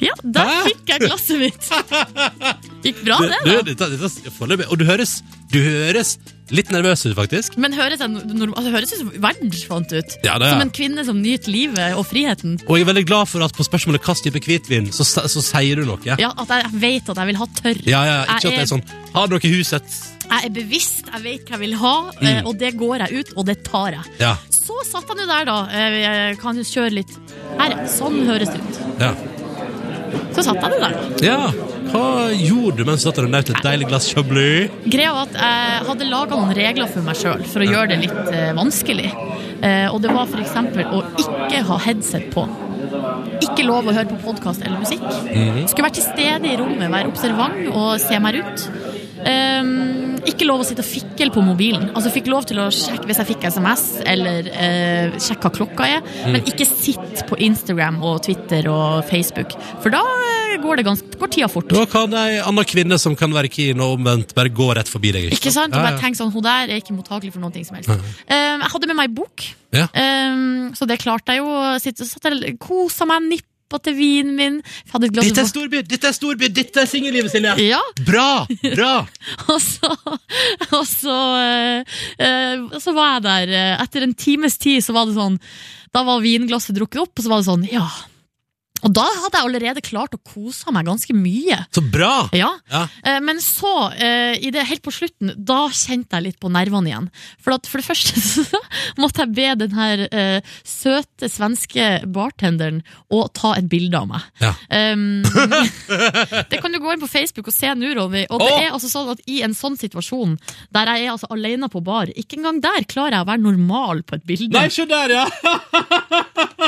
Speaker 3: Ja, der fikk jeg glasset mitt. Gikk bra, det.
Speaker 2: Du,
Speaker 3: da
Speaker 2: du, dette, dette, foreløpig. og du høres, du høres litt nervøs ut, faktisk.
Speaker 3: Men høres jeg norm- altså, høres ut som verden fant ut.
Speaker 2: Ja, det er.
Speaker 3: Som en kvinne som nyter livet og friheten.
Speaker 2: Og jeg er veldig glad for at på spørsmålet hva slags type hvitvin, så, sa- så sier du noe.
Speaker 3: Ja. At jeg vet at jeg vil ha tørr.
Speaker 2: Ja, ja, ikke at det
Speaker 3: jeg,
Speaker 2: er sånn Har dere huset?
Speaker 3: jeg er bevisst, jeg vet hva jeg vil ha, eh,
Speaker 2: Mm.
Speaker 3: og det går jeg ut, og det tar jeg.
Speaker 2: Ja.
Speaker 3: Så satt jeg nå der, da. Eh, Jeg kan jo kjøre litt her. Sånn høres det ut.
Speaker 2: Ja.
Speaker 3: Så satt jeg nå der, da.
Speaker 2: ja. Hva gjorde du mens du satt der og nøt et deilig glass chablis?
Speaker 3: Greia var at jeg hadde laga noen regler for meg sjøl for å gjøre det litt eh, vanskelig. Eh, og det var f.eks. å ikke ha headset på. Ikke lov å høre på podkast eller musikk.
Speaker 2: Mhm.
Speaker 3: Skulle være til stede i rommet, være observant og se meg rundt. Ehm, ikke lov å sitte og fikle på mobilen. Altså fikk lov til å sjekke hvis jeg fikk SMS, eller eh, sjekke hva klokka er.
Speaker 12: Mm.
Speaker 3: Men ikke sitt på Instagram og Twitter og Facebook, for da eh, går, det ganske, går tida fort.
Speaker 2: Da kan ei anna kvinne som kan være keen og omvendt, bare gå rett forbi deg.
Speaker 3: Ikke sant? Og
Speaker 2: Ja,
Speaker 3: bare
Speaker 2: ja.
Speaker 3: tenk sånn, hun der er ikke mottakelig for noe som helst.
Speaker 2: Ja.
Speaker 3: Ehm, jeg hadde med meg ei bok,
Speaker 2: Ja.
Speaker 3: Ehm, så det klarte jeg jo. Sitt, satt jeg, kosa meg, nippa til vinen min. Hadde et glass
Speaker 2: Dette er storby, dette er storby, dette er singellivet, Silje!
Speaker 3: Ja.
Speaker 2: Bra! Bra!
Speaker 3: Og så, og så, eh, eh, så var jeg der. eh, Etter en times tid så var det sånn Da var vinglasset drukket opp, og så var det sånn, ja. Og da hadde jeg allerede klart å kose meg ganske mye.
Speaker 2: Så bra!
Speaker 3: Ja.
Speaker 2: Ja.
Speaker 3: Eh, Men så, eh, i det, helt på slutten, da kjente jeg litt på nervene igjen. For, at, for det første så måtte jeg be den her eh, søte svenske bartenderen å ta et bilde av meg.
Speaker 2: Ja.
Speaker 3: Um, det kan du gå inn på Facebook og se nå, Ronny. Og det er altså sånn at i en sånn situasjon, der jeg er altså alene på bar, ikke engang der klarer jeg å være normal på et bilde.
Speaker 2: Nei, se der, ja!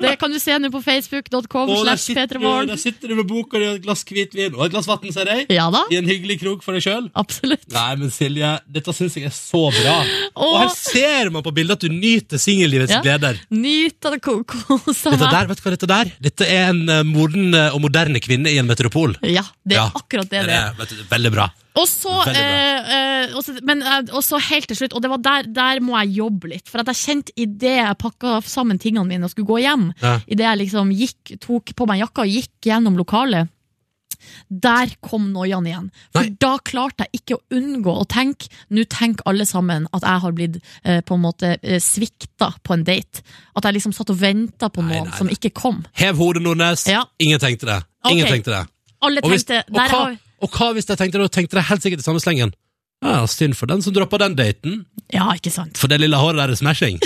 Speaker 3: det kan du se nå på facebook.com
Speaker 2: Og der
Speaker 3: slash
Speaker 2: sitter, du,
Speaker 3: Petremorgen.
Speaker 2: der sitter du med boka di og et glass hvitvin og et glass vann, ser jeg.
Speaker 3: Ja da.
Speaker 2: I en hyggelig krok for deg sjøl.
Speaker 3: Absolutt.
Speaker 2: Nei, men Silje, dette syns jeg er så bra. Og
Speaker 3: Åh.
Speaker 2: her ser man på bildet at du nyter singellivets
Speaker 3: Ja.
Speaker 2: gleder.
Speaker 3: Nyt av det ko- kosa
Speaker 2: Dette
Speaker 3: meg.
Speaker 2: der, vet du hva dette der? Dette er en eh, moden eh, og moderne kvinne i en metropol.
Speaker 3: Ja, det er
Speaker 2: Ja.
Speaker 3: akkurat det
Speaker 2: Det
Speaker 3: det er.
Speaker 2: er vet du, veldig bra.
Speaker 3: Og så,
Speaker 2: Veldig bra.
Speaker 3: eh, eh, og så- men, eh, og så helt til slutt, og det var der, der må jeg jobbe litt. For at jeg kjente idet jeg pakka sammen tingene mine og skulle gå hjem,
Speaker 12: Ja.
Speaker 3: idet jeg liksom gikk, tok på meg jakka og gikk gjennom lokalet, der kom noiaen igjen. For da klarte jeg ikke å unngå å tenke Nå tenker alle sammen at jeg har blitt eh, på en måte eh, svikta på en date. At jeg liksom satt og venta på noen som ikke kom.
Speaker 2: Hev hodet, Nordnes. Ingen tenkte det. Ingen
Speaker 3: Ok.
Speaker 2: tenkte det.
Speaker 3: Alle
Speaker 2: Og hvis-
Speaker 3: tenkte
Speaker 2: og hva,
Speaker 3: der har-
Speaker 2: og hva hvis de tenkte det? Da tenkte de helt sikkert i samme slengen. Ja, synd for den som droppa den daten.
Speaker 3: Ja, ikke sant.
Speaker 2: For det lille håret der er smashing.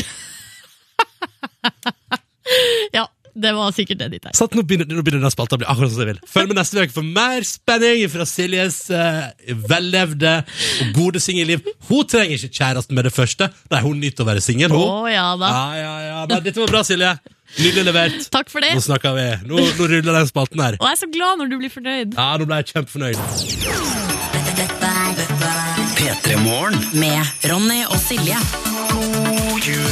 Speaker 3: Ja, Det var sikkert det ditt er.
Speaker 2: Sånn, nå begynner, nå begynner den spalta å bli akkurat som jeg vil. Følg med neste uke for mer spenning fra Siljes eh, vellevde og gode singelliv. Hun trenger ikke kjæresten med det første. Nei, hun nyter å være singel, hun.
Speaker 3: Å, ja da.
Speaker 2: Ja, ja, ja. Men dette var bra, Silje. Nydelig levert.
Speaker 3: Takk for det.
Speaker 2: Nå snakker vi. Nå, nå ruller den spalten her.
Speaker 3: Og jeg er så glad når du blir fornøyd.
Speaker 2: Ja, nå ble jeg kjempefornøyd.
Speaker 1: P3-morgen.
Speaker 8: Med Ronny og Silje.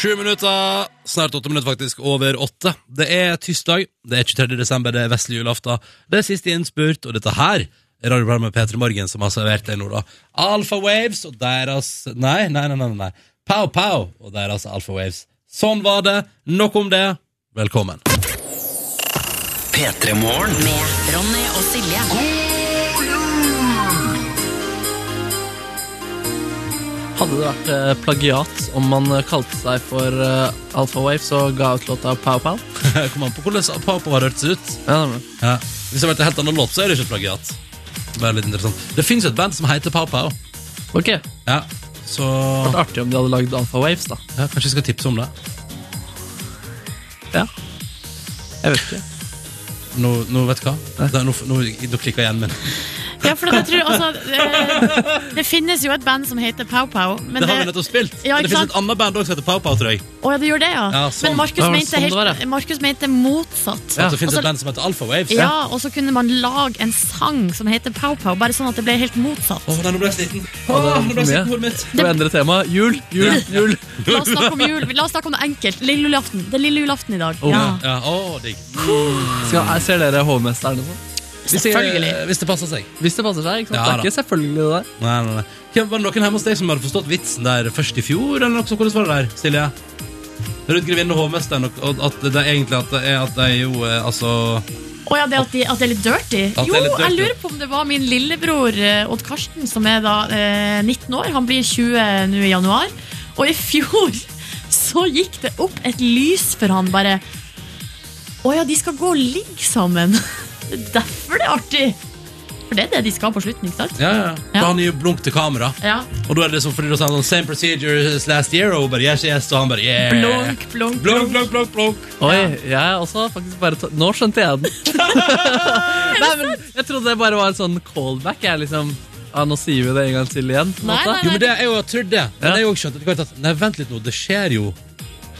Speaker 2: Sju minutter, snart åtte minutter faktisk, over åtte. Det er tirsdag, det er 23. desember, det er vestlig julaften. Det er siste innspurt, og dette her er radioprogrammet P3 Morgen som har servert deg nå, da. Alpha Waves og deres Nei, nei, nei. nei, nei. Pow Pow og deres Alpha Waves. Sånn var det. Nok om det. Velkommen.
Speaker 1: P3-morgen.
Speaker 8: Med Ronny og Silje.
Speaker 4: Hadde det vært eh, plagiat om man eh, kalte seg for eh, Alpha Waves og ga ut låta Pow Pow?
Speaker 2: Kom an på hvordan Pow Pow har hørtes ut. Ja. Hvis det hadde vært en helt annen låt, så er det ikke et plagiat. Bare litt interessant. Det fins jo et band som heter Pow Pow.
Speaker 4: Ok,
Speaker 2: Ja, så
Speaker 4: vært artig om de hadde lagd Alpha Waves, da.
Speaker 2: ja, Kanskje jeg skal tipse om det.
Speaker 4: Ja. Jeg vet ikke.
Speaker 2: Nå, nå vet du hva? Da, nå nå, nå klikker hjernen min.
Speaker 3: Ja, for jeg tror, altså, det, det finnes jo et band som heter Pow Pow. Men
Speaker 2: det har vi
Speaker 3: det,
Speaker 2: nettopp spilt.
Speaker 3: Ja,
Speaker 2: Men det
Speaker 3: ikke
Speaker 2: fins
Speaker 3: sant?
Speaker 2: et annet band også som heter Pow Pow, tror jeg.
Speaker 3: å, ja, det gjør det, ja.
Speaker 2: Ja, sånn.
Speaker 3: Men Markus
Speaker 2: Ja, det var
Speaker 3: mente,
Speaker 2: sånn det var,
Speaker 3: helt, Markus mente motsatt.
Speaker 2: At det fins
Speaker 3: Altså,
Speaker 2: et band som heter Alpha Waves.
Speaker 3: ja, og så kunne man lage en sang som heter Pow Pow, bare sånn at det ble helt motsatt.
Speaker 2: Å, nei, nå ble jeg sliten. Å, nå ble jeg sliten på hodet mitt.
Speaker 4: Skal vi endre tema? Jul, jul, jul.
Speaker 3: La oss snakke om jul. La oss snakke om noe enkelt. Lille julaften. Det er lille julaften i dag. Ja.
Speaker 2: Ja, å, digg. Mm.
Speaker 4: Skal, er- ser dere Hovmesteren og sånn?
Speaker 2: Hvis, jeg, hvis det passer seg.
Speaker 4: Hvis det passer seg. ikke sant?
Speaker 2: Ja,
Speaker 4: det er ikke selvfølgelig det der.
Speaker 2: Nei, nei, nei. Hvem- Var det noen hjemme hos deg som hadde forstått vitsen der først i fjor? Eller noe sånt? Hvordan var det der, Silje? Rundt grevinnen og hovmesteren, og- og at det er egentlig at det er at de jo eh, altså
Speaker 3: Å ja, det at, de, at det er litt dirty?
Speaker 2: At det
Speaker 3: Jo,
Speaker 2: er litt dirty.
Speaker 3: jeg lurer på om det var min lillebror eh, Odd Karsten, som er da eh, 19 år. Han blir 20 nå i januar. Og i fjor så gikk det opp et lys for han, bare Å ja, de skal gå og ligge sammen. Det er Derfor det er artig. For det er det de skal på slutten, ikke sant?
Speaker 2: Ja, ja.
Speaker 3: Ja.
Speaker 2: Da han gir blunk til kamera.
Speaker 3: Ja.
Speaker 2: Og da er det liksom fordi du sa sånn Same procedure as last year, og hun bare yes, yes, og han bare yeah.
Speaker 3: Blunk, Eh, blunk,
Speaker 2: blunk, blunk, blunk, blunk.
Speaker 4: Oi, jeg er også faktisk bare ta Nå skjønte jeg den. nei, men Jeg trodde det bare var en sånn callback. Jeg liksom, ja, Nå sier vi det en gang til igjen. på en
Speaker 3: Nei,
Speaker 4: måte.
Speaker 3: nei,
Speaker 2: Jo, men det er jo jeg trodde det. Men jeg har jo også skjønt etter hvert at Nei, vent litt nå, det skjer jo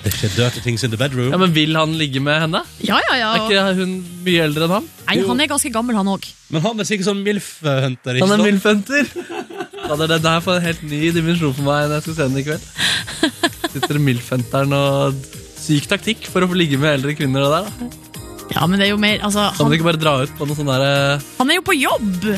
Speaker 2: Det skjer dirty things in the bedroom.
Speaker 4: Ja, Men vil han ligge med henne?
Speaker 3: Ja, ja,
Speaker 4: Er
Speaker 3: ja.
Speaker 4: ikke hun mye eldre enn han?
Speaker 3: Nei, han er ganske gammel, han òg.
Speaker 2: Men han er sikkert sånn MILF-hunter, ikke
Speaker 4: Han er
Speaker 2: sant?
Speaker 4: milfhunter. Ja, det, det her får en helt ny dimensjon for meg når jeg skal se den i kveld. Sitter milfhunteren og Syk taktikk for å få ligge med eldre kvinner. og det der da.
Speaker 3: Ja, men det er jo mer Altså,
Speaker 4: Kan du
Speaker 3: han,
Speaker 4: ikke bare dra ut på noe sånn der eh,
Speaker 3: han er jo på jobb!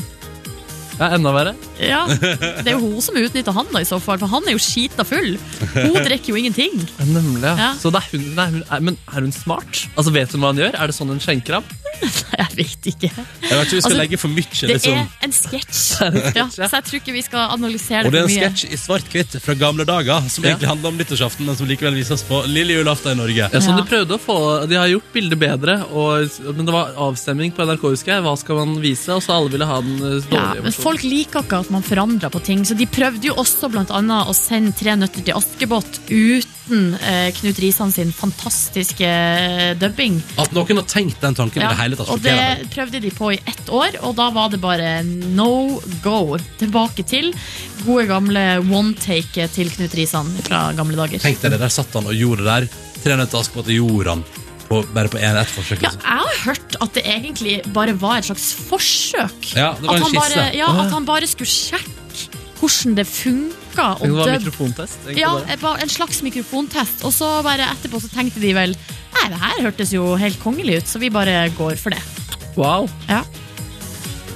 Speaker 4: Ja, enda verre.
Speaker 3: Ja, Det er jo hun som utnytter han, da, i så fall, for han er jo skita full. Hun drikker jo ingenting.
Speaker 4: Ja, Nemlig, ja.
Speaker 3: Ja.
Speaker 4: Så det er hun, nei, hun er, men er hun smart? Altså, Vet hun hva hun gjør? Er det sånn hun skjenker ham?
Speaker 3: Jeg vet ikke.
Speaker 2: Jeg vet ikke vi skal
Speaker 3: Altså,
Speaker 2: legge for mye,
Speaker 3: Det
Speaker 2: liksom.
Speaker 3: er en sketsj. Ja, så jeg tror ikke vi skal analysere
Speaker 2: Og det er
Speaker 3: det
Speaker 2: en
Speaker 3: for mye.
Speaker 2: sketsj i svart-hvitt fra gamle dager som egentlig handler om nyttårsaften, men som likevel vises på lille julaften i Norge.
Speaker 4: Ja, som
Speaker 3: Ja.
Speaker 4: sånn De prøvde å få, de har gjort bildet bedre, og, men det var avstemning på NRK. husker jeg. Hva skal man vise? Og så alle ville ha den eh,
Speaker 3: Ja,
Speaker 4: dårlige
Speaker 3: men
Speaker 4: versjonen.
Speaker 3: Folk liker ikke at man forandrer på ting, så de prøvde jo også blant annet å sende Tre nøtter til Askepott uten eh, Knut Risan sin fantastiske eh, dubbing.
Speaker 2: At noen har tenkt den tanken i
Speaker 3: Ja,
Speaker 2: det hele tatt.
Speaker 3: og
Speaker 2: sjokkerer meg.
Speaker 3: det prøvde de på i ett år, og da var det bare no go. Tilbake til gode gamle one take til Knut Risan fra gamle dager.
Speaker 2: Tenk deg det, der satt han og gjorde det der. Tre nøtter til Askepott og gjorde han på, bare på en- ett forsøk.
Speaker 3: Ja,
Speaker 2: liksom.
Speaker 3: jeg har hørt at det egentlig bare var et slags forsøk.
Speaker 2: Ja, det var
Speaker 3: at,
Speaker 2: en
Speaker 3: han bare,
Speaker 2: skisse.
Speaker 3: ja,
Speaker 2: Åh.
Speaker 3: at han bare skulle sjekke hvordan det funka.
Speaker 4: Tenk om Det var mikrofontest. egentlig
Speaker 3: Ja,
Speaker 4: bare.
Speaker 3: eh, bare en slags mikrofontest. Og så bare etterpå så tenkte de vel Nei, det her hørtes jo helt kongelig ut, så vi bare går for det.
Speaker 4: Wow.
Speaker 3: Ja.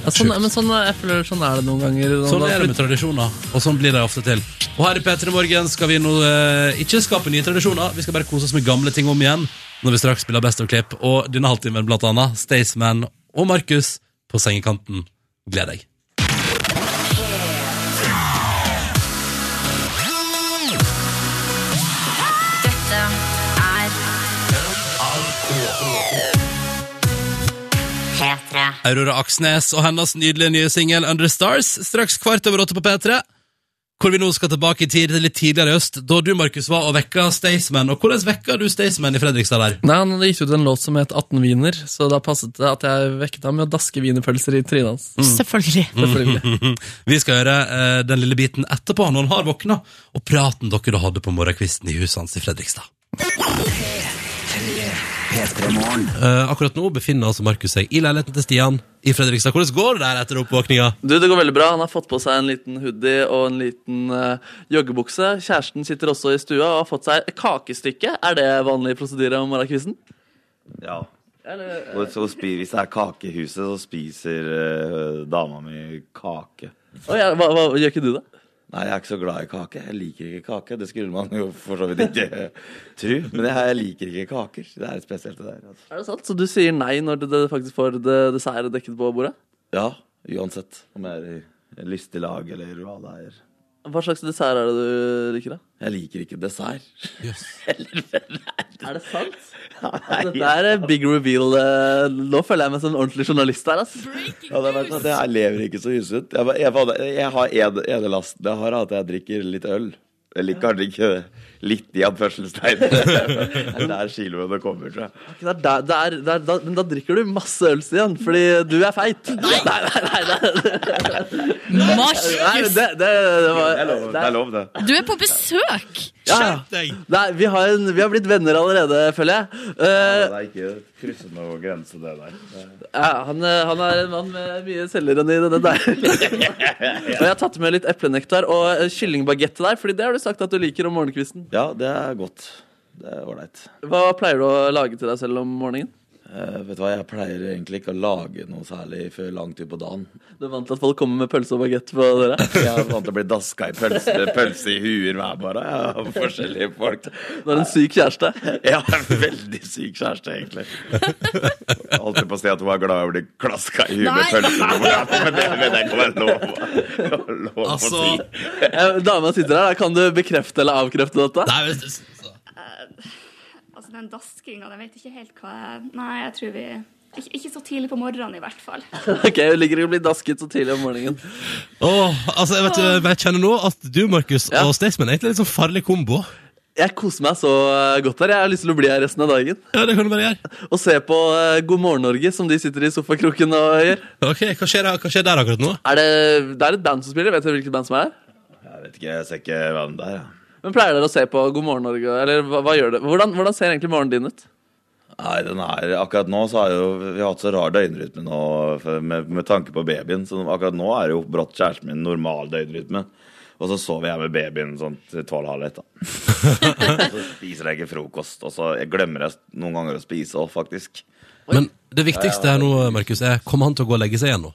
Speaker 4: Ja, sånn, men sånn, jeg føler sånn er det noen ganger.
Speaker 2: Sånn er det med tradisjoner, og sånn blir det ofte til. Og her i P3 Morgen skal vi nå eh, ikke skape nye tradisjoner, vi skal bare kose oss med gamle ting om igjen når vi straks spiller Best of Klipp. Og denne halvtimen blant annet Staysman og Markus på sengekanten. Gled deg.
Speaker 8: Dette er P3.
Speaker 2: Aurora Aksnes og hennes nydelige nye singel Under Stars straks kvart over åtte på P3. hvor vi nå skal tilbake i tid, litt tidligere i øst, da du, Markus, var og vekka Staysman. Og hvordan vekka du Staysman i Fredrikstad der?
Speaker 13: Nei, Han hadde gitt ut en låt som het 18 wiener, så da passet det at jeg vekket ham med å daske wienerpølser i trynet hans.
Speaker 2: Mm.
Speaker 4: Mhm.
Speaker 3: Selvfølgelig.
Speaker 13: Selvfølgelig.
Speaker 2: Vi skal høre eh, den lille biten etterpå, når han har våkna, og praten dere hadde på morgenkvisten i huset hans i Fredrikstad. Eh, akkurat nå befinner altså Markus seg i leiligheten til Stian i Fredrikstad. Hvordan går det der etter oppvåkninga?
Speaker 4: Du, Det går veldig bra. Han har fått på seg en liten hoodie og en liten eh, joggebukse. Kjæresten sitter også i stua og har fått seg et kakestykke. Er det vanlig prosedyre om morgenkvisten?
Speaker 14: Ja.
Speaker 4: Eller,
Speaker 14: Og så spi, hvis det er kake i huset, så spiser eh, dama mi kake.
Speaker 4: Å ja, hva, hva, gjør ikke du det?
Speaker 14: Nei, jeg er ikke så glad i kake. Jeg liker ikke kake. Det skulle man jo for så vidt ikke eh, tro. Men jeg, jeg liker ikke kaker. Det er spesielt, det der. Altså.
Speaker 4: Er det sant? Så du sier nei når du du faktisk får det dessertet dekket på bordet?
Speaker 14: Ja, uansett om jeg er i lystig lag eller hva det er.
Speaker 4: Hva slags dessert er det du liker, da?
Speaker 14: Jeg liker ikke dessert.
Speaker 4: Er det sant? Dette er eh, big reveal. eh, Nå føler jeg meg som en ordentlig journalist her. ass.
Speaker 14: Ja, det er verdt at jeg lever ikke så usunt. Jeg, bare- jeg, bare- jeg har ed, edelasten jeg har, at jeg drikker litt øl. Eller kanskje ikke litt i anførselstegn. Det er der kiloene kommer, tror jeg.
Speaker 4: Det er der, det er, det er, da, men da drikker du masse øl, Stian, fordi du er feit. Nei, nei, nei. nei,
Speaker 14: Markus!
Speaker 4: Nei, men det, det, det, var,
Speaker 14: Det er lov, det. Er lov, det.
Speaker 3: Du er på besøk!
Speaker 4: Skjerp deg! Nei, vi har, en, vi har blitt venner allerede, føler jeg. Eh,
Speaker 14: Det er ikke krysse noe grense, det der. Det-
Speaker 4: ja, han, eh, han er en mann med mye selvironi. denne der. Og jeg har tatt med litt eplenektar og eh, kyllingbagett til deg, Fordi det har du sagt at du liker om morgenkvisten.
Speaker 14: Ja, det er godt. Det er ålreit.
Speaker 4: Hva pleier du å lage til deg selv om morgenen?
Speaker 14: Eh, vet du hva, jeg pleier egentlig ikke å lage noe særlig før langt utpå dagen.
Speaker 4: Du er vant til at folk kommer med pølse og bagett på dere?
Speaker 14: Jeg er vant til å bli daska i pølse, pølse i huer hver bare av forskjellige folk. Du
Speaker 4: har en syk kjæreste?
Speaker 14: Ja, en veldig syk kjæreste, egentlig. Alltid på sted at hun er glad i å bli klaska i huet med
Speaker 4: Nei.
Speaker 14: pølse. på morgenen, Men det vet jeg ikke om jeg lov, lov å si.
Speaker 2: Altså,
Speaker 4: Eh, Dama sitter her, da. kan du bekrefte eller avkrefte dette?
Speaker 2: Nei, men...
Speaker 6: Altså, den daskinga, den vet ikke helt hva jeg Nei, jeg tror vi ikke, ikke så tidlig på morgenen, i hvert fall.
Speaker 4: Ok, Hun ligger og blir dasket så tidlig om morgenen.
Speaker 2: Åh, altså, jeg, vet, jeg kjenner nå at du, Markus, og Staysman er egentlig en litt sånn farlig kombo.
Speaker 4: Jeg koser meg så eh, godt her. Jeg har lyst til å bli her resten av dagen.
Speaker 2: Ja, det kan du bare gjøre.
Speaker 4: Og se på eh, God morgen Norge, som de sitter i sofakroken og gjør.
Speaker 2: Ok, Hva skjer, hva skjer der akkurat nå?
Speaker 4: Er det, det er et band som spiller. Vet dere hvilket band som er her?
Speaker 14: Jeg vet ikke, jeg ser ikke hvem det er. jeg.
Speaker 4: Men Pleier dere å se på God morgen Norge? Eller hva, hva gjør det? Hvordan, hvordan ser egentlig morgenen din ut?
Speaker 14: Nei, den er, akkurat nå så er jo, Vi har hatt så rar døgnrytme nå for- med, med tanke på babyen. Så akkurat nå er jo brått kjæresten min normal døgnrytme. Og så sover jeg med babyen sånn til tolv halv ett. da. Og så spiser jeg ikke frokost. Og så jeg glemmer jeg noen ganger å spise òg, faktisk.
Speaker 2: Men det viktigste her nå, Markus, er kommer han til å gå og legge seg igjen nå?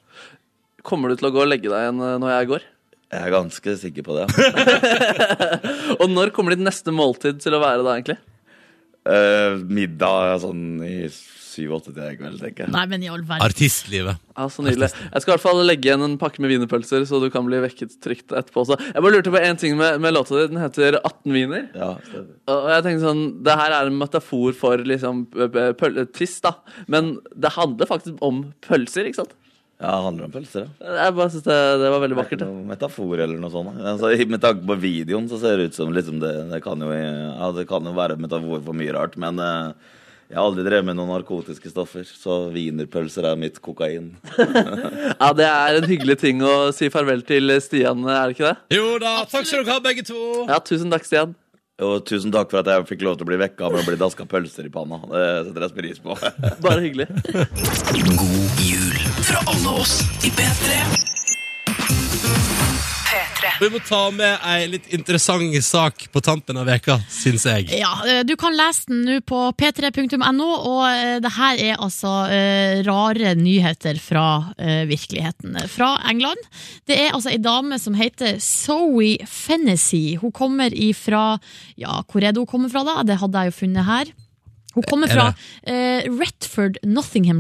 Speaker 4: Kommer du til å gå og legge deg igjen eh, når jeg går?
Speaker 14: Jeg er ganske sikker på det.
Speaker 4: Og når kommer ditt neste måltid til å være da, egentlig?
Speaker 14: Eh, middag er sånn i syv-åtte-tida i kveld, tenker jeg.
Speaker 3: Nei, men i all verden.
Speaker 2: Artistlivet.
Speaker 4: Ja, så nydelig. Jeg skal i hvert fall legge igjen en pakke med wienerpølser, så du kan bli vekket trygt etterpå også. Jeg bare lurte på en ting med, med låta di. Den heter 18 wiener.
Speaker 14: Ja,
Speaker 4: og jeg tenkte sånn, Det her er en metafor for liksom p- p- pøl- tiss, da. Men det handler faktisk om pølser, ikke sant?
Speaker 14: Ja, det handler om pølser, ja.
Speaker 4: Jeg bare synes det, det var veldig
Speaker 14: vakkert. Noe metafor eller noe sånt. da. Altså, i- med tanke på videoen så ser det ut som liksom det, det, kan jo, ja, det kan jo være metafor for mye rart, men eh, jeg har aldri drevet med noen narkotiske stoffer, så wienerpølser er mitt kokain.
Speaker 4: Ja, Det er en hyggelig ting å si farvel til Stian, er det ikke det?
Speaker 2: Jo da, takk skal dere ha, begge to.
Speaker 4: Ja, tusen takk, Stian.
Speaker 14: Og tusen takk for at jeg fikk lov til å bli vekka med å bli daska pølser i panna. Det setter jeg pris på.
Speaker 4: Bare hyggelig.
Speaker 7: God jul fra alle oss i P3.
Speaker 2: Vi må ta med ei litt interessant sak på tampen av veka, syns jeg.
Speaker 3: Ja, eh, du kan lese den nå på p3.no, og eh, det her er altså eh, rare nyheter fra eh, virkeligheten. Fra England. Det er altså ei dame som heter Zoe Fennessy. Hun kommer ifra Ja, hvor er det hun kommer fra, da? Det hadde jeg jo funnet her. Hun kommer
Speaker 15: Er
Speaker 3: fra
Speaker 15: det-
Speaker 3: eh, Retford,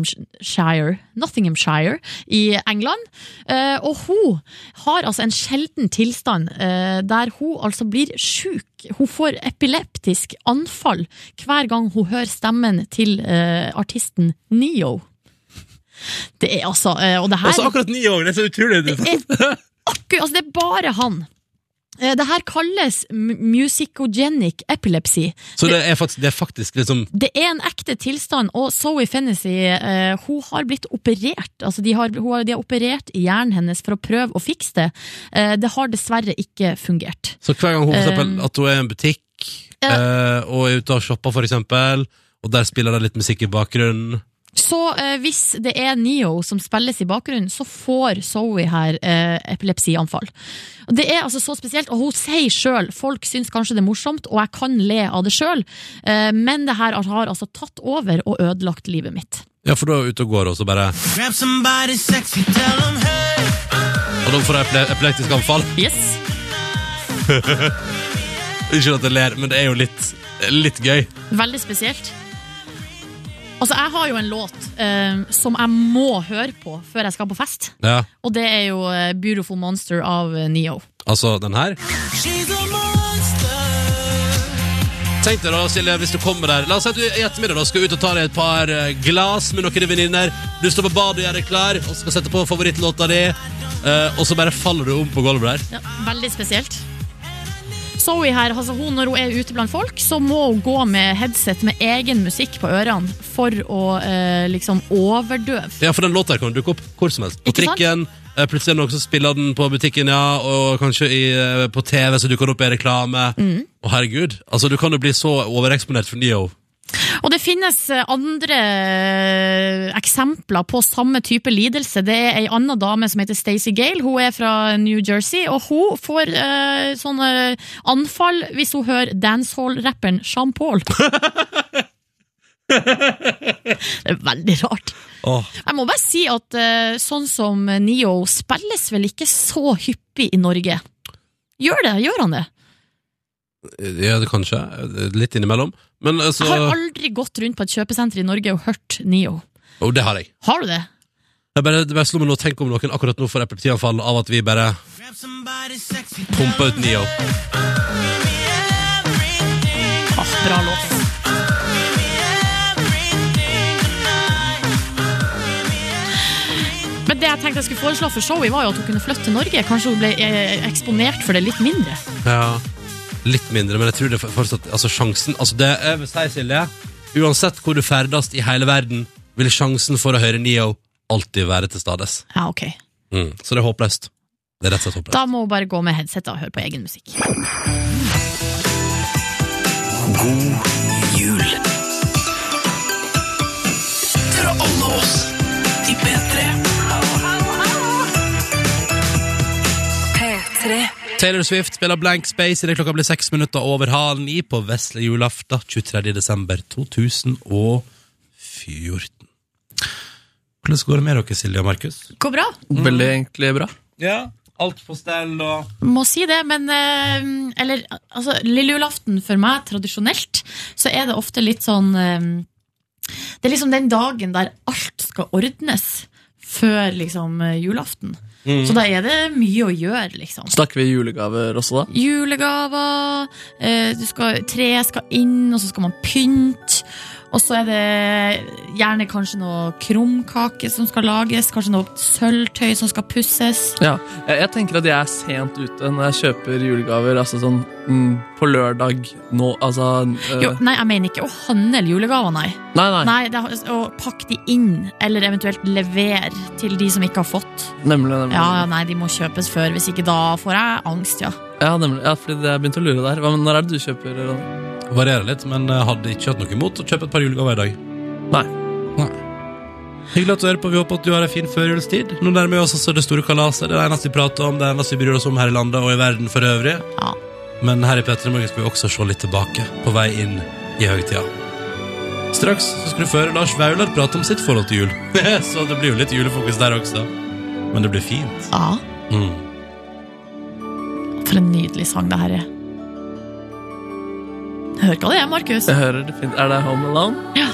Speaker 3: Nottinghamshire, Nottinghamshire i England. Eh, og hun har altså en sjelden tilstand eh, der hun altså blir sjuk. Hun får epileptisk anfall hver gang hun hører stemmen til eh, artisten Neo. Det er altså eh, Og det her
Speaker 2: Også akkurat ni år, det er så utrolig.
Speaker 3: Akkurat, altså det er bare han Eh, Det her kalles mu- musicogenic epilepsy.
Speaker 2: Så det er faktisk, det er faktisk liksom
Speaker 3: Det er en ekte tilstand, og Zoe Fennessy eh, hun har blitt operert. Altså, de, har, hun har, de har operert i hjernen hennes for å prøve å fikse det. Eh, det har dessverre ikke fungert.
Speaker 2: Så hver gang hun for eksempel,
Speaker 3: Um,
Speaker 2: at hun er i en butikk eh, og er ute og shopper, for eksempel, og der spiller det litt musikk i bakgrunnen
Speaker 3: Så eh, hvis det er Neo som spilles i bakgrunnen, så får Zoe her eh, epilepsianfall. Og Det er altså så spesielt, og hun sier sjøl folk syns kanskje det er morsomt, og jeg kan le av det sjøl, eh, men det her har altså tatt over og ødelagt livet mitt.
Speaker 2: Ja, for da er hun ute og går, og så bare
Speaker 8: Grab somebody sexy, tell them hey.
Speaker 2: Og da får hun epile- epileptisk anfall.
Speaker 3: Yes.
Speaker 2: Unnskyld at jeg ler, men det er jo litt, litt gøy.
Speaker 3: Veldig spesielt. Altså, jeg har jo en låt eh, som jeg må høre på før jeg skal på fest.
Speaker 2: Ja,
Speaker 3: Og det er jo eh, 'Beautiful Monster' av eh, Neo.
Speaker 2: altså den her.
Speaker 8: She's a monster.
Speaker 2: Tenk deg da, Silje, hvis du kommer der La oss si at du i ettermiddag da skal ut og ta deg et par eh, glass med noen venninner. Du står på badet og gjør deg klar, og skal sette på favorittlåta di, eh, og så bare faller du om på gulvet der.
Speaker 3: Ja, veldig spesielt. Zoe her, altså hun når hun er ute blant folk, så må hun gå med headset med egen musikk på ørene for å eh, liksom overdøve.
Speaker 2: Ja, for den låta her kan dukke opp hvor som helst. På
Speaker 3: Ikke sant?
Speaker 2: trikken, eh, plutselig er det noen som spiller den på butikken, ja, og kanskje i, eh, på TV så dukker den opp i reklame. Å,
Speaker 3: Mm.
Speaker 2: herregud. Altså, du kan jo bli så overeksponert for Neo.
Speaker 3: Og det finnes eh, andre eh, eksempler på samme type lidelse. Det er ei anna dame som heter Stacey Gale. Hun er fra New Jersey, og hun får eh, sånne anfall hvis hun hører dancehall-rapperen Jean Paul. det er veldig rart.
Speaker 2: Åh.
Speaker 3: Jeg må bare si at eh, sånn som Neo spilles vel ikke så hyppig i Norge. Gjør det? Gjør han det?
Speaker 2: Ja, det kanskje. Litt innimellom. Men altså
Speaker 3: Jeg har aldri gått rundt på et kjøpesenter i Norge og hørt Neo.
Speaker 2: Jo, det har jeg.
Speaker 3: Har du det?
Speaker 2: Jeg bare, det bare slo meg nå, tenk om noen akkurat nå får epilepsianfall av at vi bare pumper ut Neo.
Speaker 3: bra låt. Men det jeg tenkte jeg skulle foreslå for Zoe, var jo at hun kunne flytte til Norge. Kanskje hun ble eh, eksponert for det litt mindre.
Speaker 2: Ja, litt mindre, men jeg tror det er fortsatt Altså, sjansen Altså, det jeg vil si, Silje, uansett hvor du ferdes i hele verden, vil sjansen for å høre Neo alltid være til stades.
Speaker 3: Ja, ok.
Speaker 2: Mm. Så det er håpløst. Det er rett og slett håpløst.
Speaker 3: Da må hun bare gå med headset og høre på egen musikk.
Speaker 1: God jul. Fra alle oss i P3.
Speaker 8: P3.
Speaker 2: Taylor Swift spiller Blank Space idet klokka blir seks minutter over halv ni på vesle julaften 23. desember 2014. Hvordan går det med dere, Silje og Markus?
Speaker 3: Går bra?
Speaker 4: Veldig egentlig bra.
Speaker 2: Ja, alt på stell og
Speaker 3: Må si det, men eh, Eller altså, lille julaften for meg, tradisjonelt, så er det ofte litt sånn eh, Det er liksom den dagen der alt skal ordnes før liksom eh, julaften.
Speaker 4: Mm.
Speaker 3: Så da er det mye å gjøre, liksom.
Speaker 4: Snakker vi julegaver også, da?
Speaker 3: Julegaver, eh, du skal, treet skal inn, og så skal man pynte. Og så er det gjerne kanskje noe krumkake som skal lages, kanskje noe sølvtøy som skal pusses.
Speaker 4: Ja. Jeg, jeg tenker at jeg er sent ute når jeg kjøper julegaver altså sånn mm, på lørdag nå, altså eh,
Speaker 3: Jo, nei, jeg mener ikke å handle julegaver, nei.
Speaker 4: Nei, nei.
Speaker 3: det er, å pakke de inn, eller eventuelt levere til de som ikke har fått.
Speaker 4: Nemlig, nemlig.
Speaker 3: Ja, nei, de må kjøpes før, hvis ikke da får jeg angst, ja.
Speaker 4: Ja, nemlig. Ja, fordi det- jeg begynte å lure der. Hva, men når er det du kjøper, Ronny?
Speaker 2: varierer litt, men jeg hadde ikke hatt noe imot å kjøpe et par julegaver i dag.
Speaker 4: Nei.
Speaker 2: Hyggelig at du hører på. Vi håper at du har en fin førjulstid. Nå nærmer vi oss altså det store kalaset. Det er det eneste vi prater om, det er det eneste vi bryr oss om her i landet og i verden for øvrig. Men her i P3 Morgen skal vi også se litt tilbake, på vei inn i høytida. Straks så skal du føre Lars Vaular prate om sitt forhold til jul. så det blir jo litt julefokus der også. Men det blir fint.
Speaker 3: Ja.
Speaker 2: Mm.
Speaker 3: For en nydelig sang det her er. Hør hva det er, Markus.
Speaker 4: Jeg hører det fint. Er det Home Alone?
Speaker 3: Ja.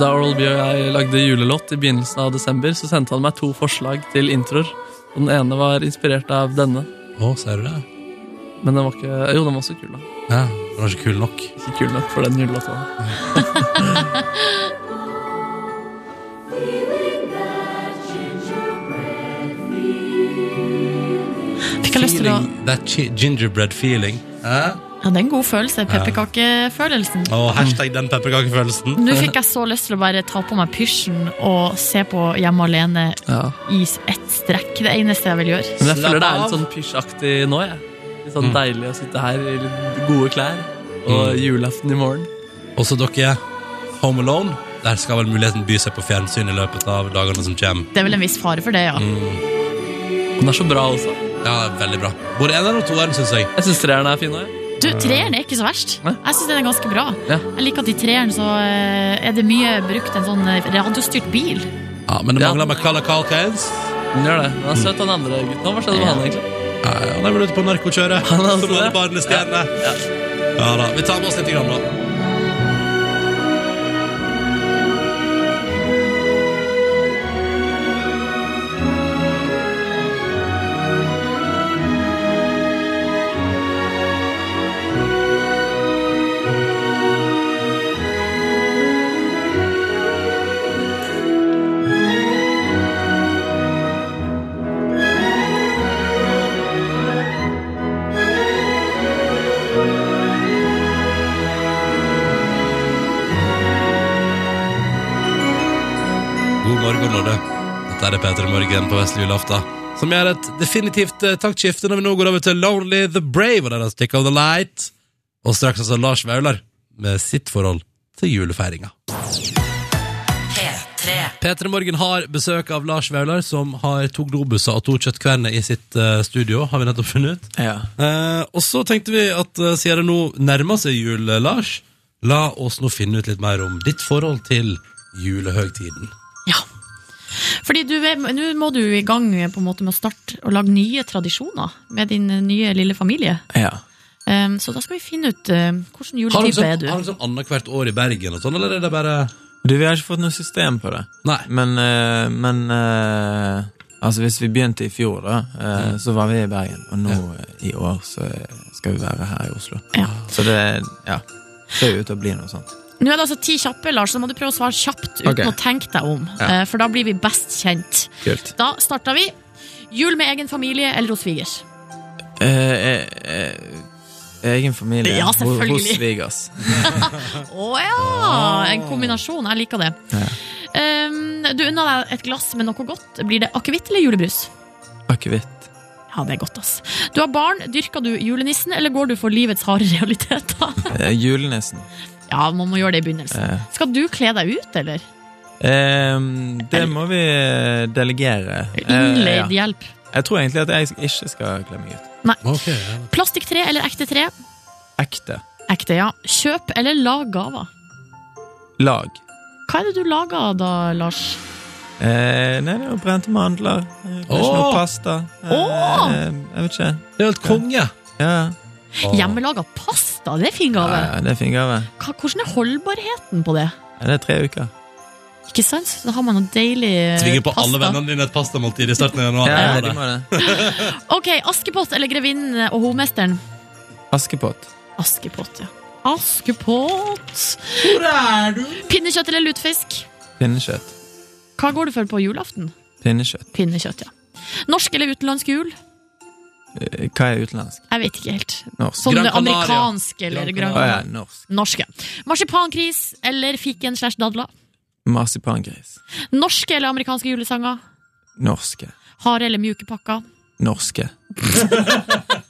Speaker 4: Da Oral B og jeg lagde julelåt i begynnelsen av desember, så sendte han meg to forslag til introer. Og den ene var inspirert av denne.
Speaker 2: Å, ser du det?
Speaker 4: Men den var ikke Jo, den var også kul, da.
Speaker 2: Ja, Den var ikke kul nok.
Speaker 4: Ikke kul nok for den julelåta.
Speaker 3: Fikk jeg lyst
Speaker 2: feeling,
Speaker 3: for
Speaker 2: that gi- gingerbread feeling. Hæ?
Speaker 3: å Ja, det er en god følelse. Pepperkakefølelsen.
Speaker 2: Og hashtag den pepperkakefølelsen.
Speaker 3: Nå fikk jeg så lyst til å bare ta på meg pysjen og se på Hjemme alene
Speaker 4: Ja.
Speaker 3: i ett strekk. Det eneste jeg vil gjøre.
Speaker 4: Men jeg føler det er litt sånn pysjaktig nå. Jeg. Litt
Speaker 2: Mm.
Speaker 4: sånn deilig å sitte her i litt gode klær. Og julaften i morgen.
Speaker 2: Også dere, Home Alone. Der skal vel muligheten by seg på fjernsyn i løpet av dagene som kommer.
Speaker 3: Det er vel en viss fare for det, ja.
Speaker 2: Den er så bra, altså. Ja, veldig bra. Både eneren og toeren, syns jeg.
Speaker 4: Jeg syns treeren er fin òg.
Speaker 3: Du, Treeren er ikke så verst. Jeg syns den er ganske bra. Jeg liker at i treeren så eh, er det mye brukt en sånn eh, radiostyrt bil.
Speaker 2: Ja, men det mangler McCalla Calcains.
Speaker 4: Den gjør det. Den er søt, den andre gutten. Hva skjedde med han, egentlig?
Speaker 2: Han er vel ute på narkokjøret.
Speaker 4: Han er altså
Speaker 2: Som alle
Speaker 4: det.
Speaker 2: barnestjernene.
Speaker 4: Ja.
Speaker 2: Ja da. Vi tar med oss litt grann, da. God morgen, Nåde. Dette er Peter Morgen på Vestlig julaften. Som gjør et definitivt eh, taktskifte når vi nå går over til Lonely the Brave og deres Stick of the Light. Og straks altså Lars Vaular med sitt forhold til julefeiringa.
Speaker 8: P3.
Speaker 2: Peter Morgen har besøk av Lars Vaular, som har to globuser og to kjøttkverner i sitt eh, studio, har vi nettopp funnet ut.
Speaker 16: Ja.
Speaker 2: Eh, og så tenkte vi at eh, siden det nå nærmer seg jul, eh, Lars, la oss nå finne ut litt mer om ditt forhold til julehøgtiden.
Speaker 3: Fordi du er- nå må du i gang eh, på en måte med å starte å lage nye tradisjoner med din eh, nye lille familie.
Speaker 16: Ja.
Speaker 3: Um, så da skal vi finne ut eh, hvilken
Speaker 2: Har dere
Speaker 3: juletype er
Speaker 2: sånn,
Speaker 3: du.
Speaker 2: har dere sånn annethvert år i Bergen og sånn, eller er det bare
Speaker 16: Du, vi har ikke fått noe system på det. Men, eh, men eh, altså hvis vi begynte i fjor, da,
Speaker 2: Mm.
Speaker 16: eh, så var vi i Bergen. Og nå eh, i år så skal vi være her i Oslo. Så det ja, ser jo ut til å bli noe sånt.
Speaker 3: Nå er det altså ti kjappe, Lars, så må du prøve å svare kjapt uten
Speaker 16: Ok.
Speaker 3: å tenke deg om.
Speaker 16: Ja.
Speaker 3: eh, For da blir vi best kjent.
Speaker 16: Kult.
Speaker 3: Da starter vi. Jul med egen familie eller hos svigers?
Speaker 16: Eh, eh, eh, egen familie
Speaker 3: Ja,
Speaker 16: ho- hos
Speaker 3: selvfølgelig.
Speaker 16: svigers.
Speaker 3: Å ja! En kombinasjon. Jeg liker det.
Speaker 16: Ja.
Speaker 3: Um, du unna deg et glass med noe godt. Blir det akevitt eller julebrus?
Speaker 16: Akevitt.
Speaker 3: Ja, det er godt, ass. Du har barn. Dyrker du julenissen, eller går du for livets harde realiteter?
Speaker 16: Eh, julenissen.
Speaker 3: Ja, man må gjøre det i begynnelsen.
Speaker 16: Eh.
Speaker 3: Skal du kle deg ut, eller?
Speaker 16: Ehm, det må vi eh, delegere. Eh,
Speaker 3: Innleid hjelp.
Speaker 16: Jeg tror egentlig at jeg ikke skal kle meg ut.
Speaker 3: Nei.
Speaker 2: ja.
Speaker 3: Plastikktre eller ekte tre?
Speaker 16: Ekte.
Speaker 3: Ekte, ja. Kjøp eller lag gaver?
Speaker 16: Lag.
Speaker 3: Hva er det du lager da, Lars?
Speaker 16: Eh, nei, det er jo brente mandler. Eh, Kanskje
Speaker 3: Åh!
Speaker 16: noe pasta. Eh,
Speaker 3: Åh!
Speaker 16: jeg vet ikke.
Speaker 2: Det er helt konge.
Speaker 16: Ja.
Speaker 3: Hjemmelaga pasta, det er fin gave.
Speaker 16: Ja, det er fin gave.
Speaker 3: Hva- Hvordan er holdbarheten på det?
Speaker 16: Ja, det er tre uker.
Speaker 3: Ikke sant? Så da har man noe deilig eh,
Speaker 2: Tvinger på
Speaker 3: pasta.
Speaker 2: alle vennene dine et pastamåltid i starten av januar.
Speaker 16: Ja,
Speaker 2: Ja,
Speaker 16: de må det.
Speaker 3: Ok, Askepott eller Grevinnen eh, og hovmesteren?
Speaker 16: Askepott.
Speaker 3: Askepott, ja. Askepott!
Speaker 2: Hvor er du?
Speaker 3: Pinnekjøtt eller lutefisk?
Speaker 16: Pinnekjøtt.
Speaker 3: Hva går du for på julaften?
Speaker 16: Pinnekjøtt.
Speaker 3: Pinnekjøtt, ja. Norsk eller utenlandsk jul?
Speaker 16: Eh, Hva er utenlandsk?
Speaker 3: Jeg vet ikke helt.
Speaker 16: Norsk.
Speaker 3: Sånn amerikansk
Speaker 16: Gran
Speaker 3: eller Gran
Speaker 16: Canaria. Å
Speaker 3: Canaria.
Speaker 16: ja, norsk.
Speaker 3: Norske. Marsipankris eller fiken slash dadla?
Speaker 16: Marsipangris.
Speaker 3: Norske eller amerikanske julesanger?
Speaker 16: Norske.
Speaker 3: Harde eller mjuke pakker?
Speaker 16: Norske.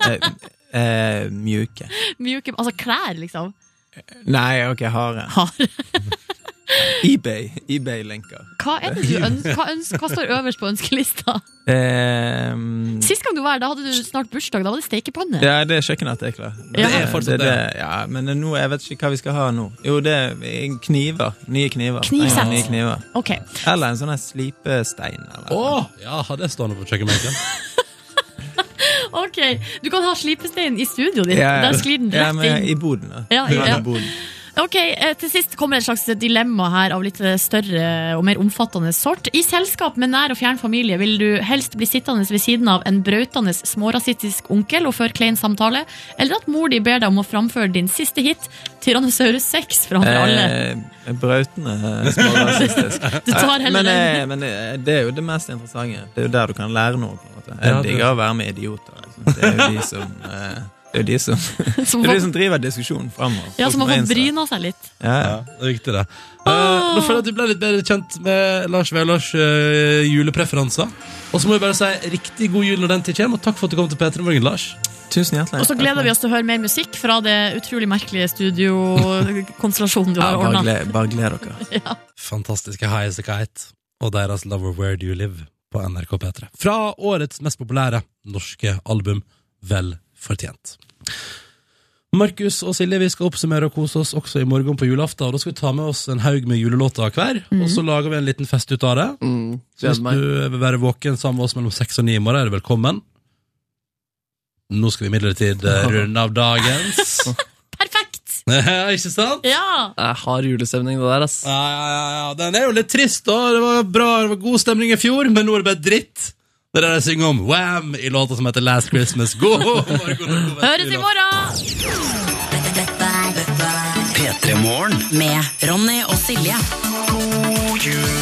Speaker 16: eh, eh, mjuke.
Speaker 3: Mjuke, altså klær, liksom.
Speaker 16: Nei, ok, hare.
Speaker 3: Hare.
Speaker 16: eBay. eBay-lenker.
Speaker 3: Hva er det du ønsker? Hva, ønsker, hva står øverst på ønskelista?
Speaker 16: Ehm,
Speaker 3: Sist gang du var her, da hadde du snart bursdag. Da var det stekepanne.
Speaker 16: Ja, det er kjøkkenartikler.
Speaker 3: Ja. Det er
Speaker 2: fortsatt
Speaker 16: det. Ja, men det er nå, jeg vet ikke hva vi skal ha nå. Jo, det er kniver. Nye kniver.
Speaker 3: Knivsett.
Speaker 16: Trenger Nye kniver.
Speaker 3: Ok.
Speaker 16: Eller en sånn her slipestein. Eller.
Speaker 2: ja, har det stående på kjøkkenbenken.
Speaker 3: ok, Du kan ha slipestein i studioet ditt. Der sklir den
Speaker 16: ja,
Speaker 3: rett
Speaker 16: men,
Speaker 3: inn.
Speaker 16: I boden, da.
Speaker 3: Ja, ja, ja. Ok, eh, Til sist kommer et slags dilemma her av litt eh, større og mer omfattende sort. I selskap med nær og fjern familie vil du helst bli sittende ved siden av en brautende smårasistisk onkel og føre klein samtale, eller at mor di ber deg om å framføre din siste hit, Tyrannosaurus 6, framfor alle.
Speaker 16: Eh, brautende smårasistisk.
Speaker 3: Du tar heller
Speaker 16: men,
Speaker 3: den.
Speaker 16: eh, men eh, det er jo det mest interessante. Det er jo der du kan lære noe. på en måte.
Speaker 4: Ja,
Speaker 16: Jeg
Speaker 4: det-
Speaker 16: digger å være med idioter. Liksom. Det er jo de som, eh, det er jo de som,
Speaker 3: Som
Speaker 16: eh, det er
Speaker 3: får-
Speaker 16: de som driver diskusjonen framover.
Speaker 3: Ja, så man får bryna seg litt.
Speaker 16: Ja,
Speaker 2: det er viktig, det. Eh, nå føler jeg at vi ble litt bedre kjent med Lars Vælars eh, julepreferanser. Og så må vi bare si riktig god jul når den tid kommer, og takk for at du kom til P3 Morgen, Lars.
Speaker 16: Tusen hjertelig.
Speaker 3: Og så gleder vi oss til å høre mer musikk fra det utrolig merkelige studiokonstellasjonen du
Speaker 16: Ja,
Speaker 3: har
Speaker 16: bare,
Speaker 3: ordna.
Speaker 16: gled, bare gled dere.
Speaker 2: Fantastiske High As A Kite og deres Lover Where Do You Live på NRK P3. Fra årets mest populære norske album, Vel fortjent. Markus og Silje, vi skal oppsummere og kose oss også i morgen på julaften. Og da skal vi ta med oss en haug med julelåter hver, og så lager vi en liten fest ut av det. Så
Speaker 4: Mhm.
Speaker 2: Hvis
Speaker 4: Mm. Gleder meg.
Speaker 2: du vil være våken sammen med oss mellom seks og ni i morgen, er du velkommen. Nå skal vi imidlertid eh, runde av dagens.
Speaker 3: Perfekt!
Speaker 2: Ikke sant?
Speaker 3: Ja!
Speaker 4: Jeg har julestemning, det der, ass.
Speaker 2: Ja, ja, ja, ja. Den er jo litt trist, da. Det var bra, det var god stemning i fjor, men nå er det bare dritt. Det er det de synger om Wham! i låta som heter Last Christmas. God morgen!
Speaker 8: Høres
Speaker 2: i
Speaker 8: morgen!
Speaker 1: P3 Morgen.
Speaker 8: Med Ronny og Silje.
Speaker 1: God jul.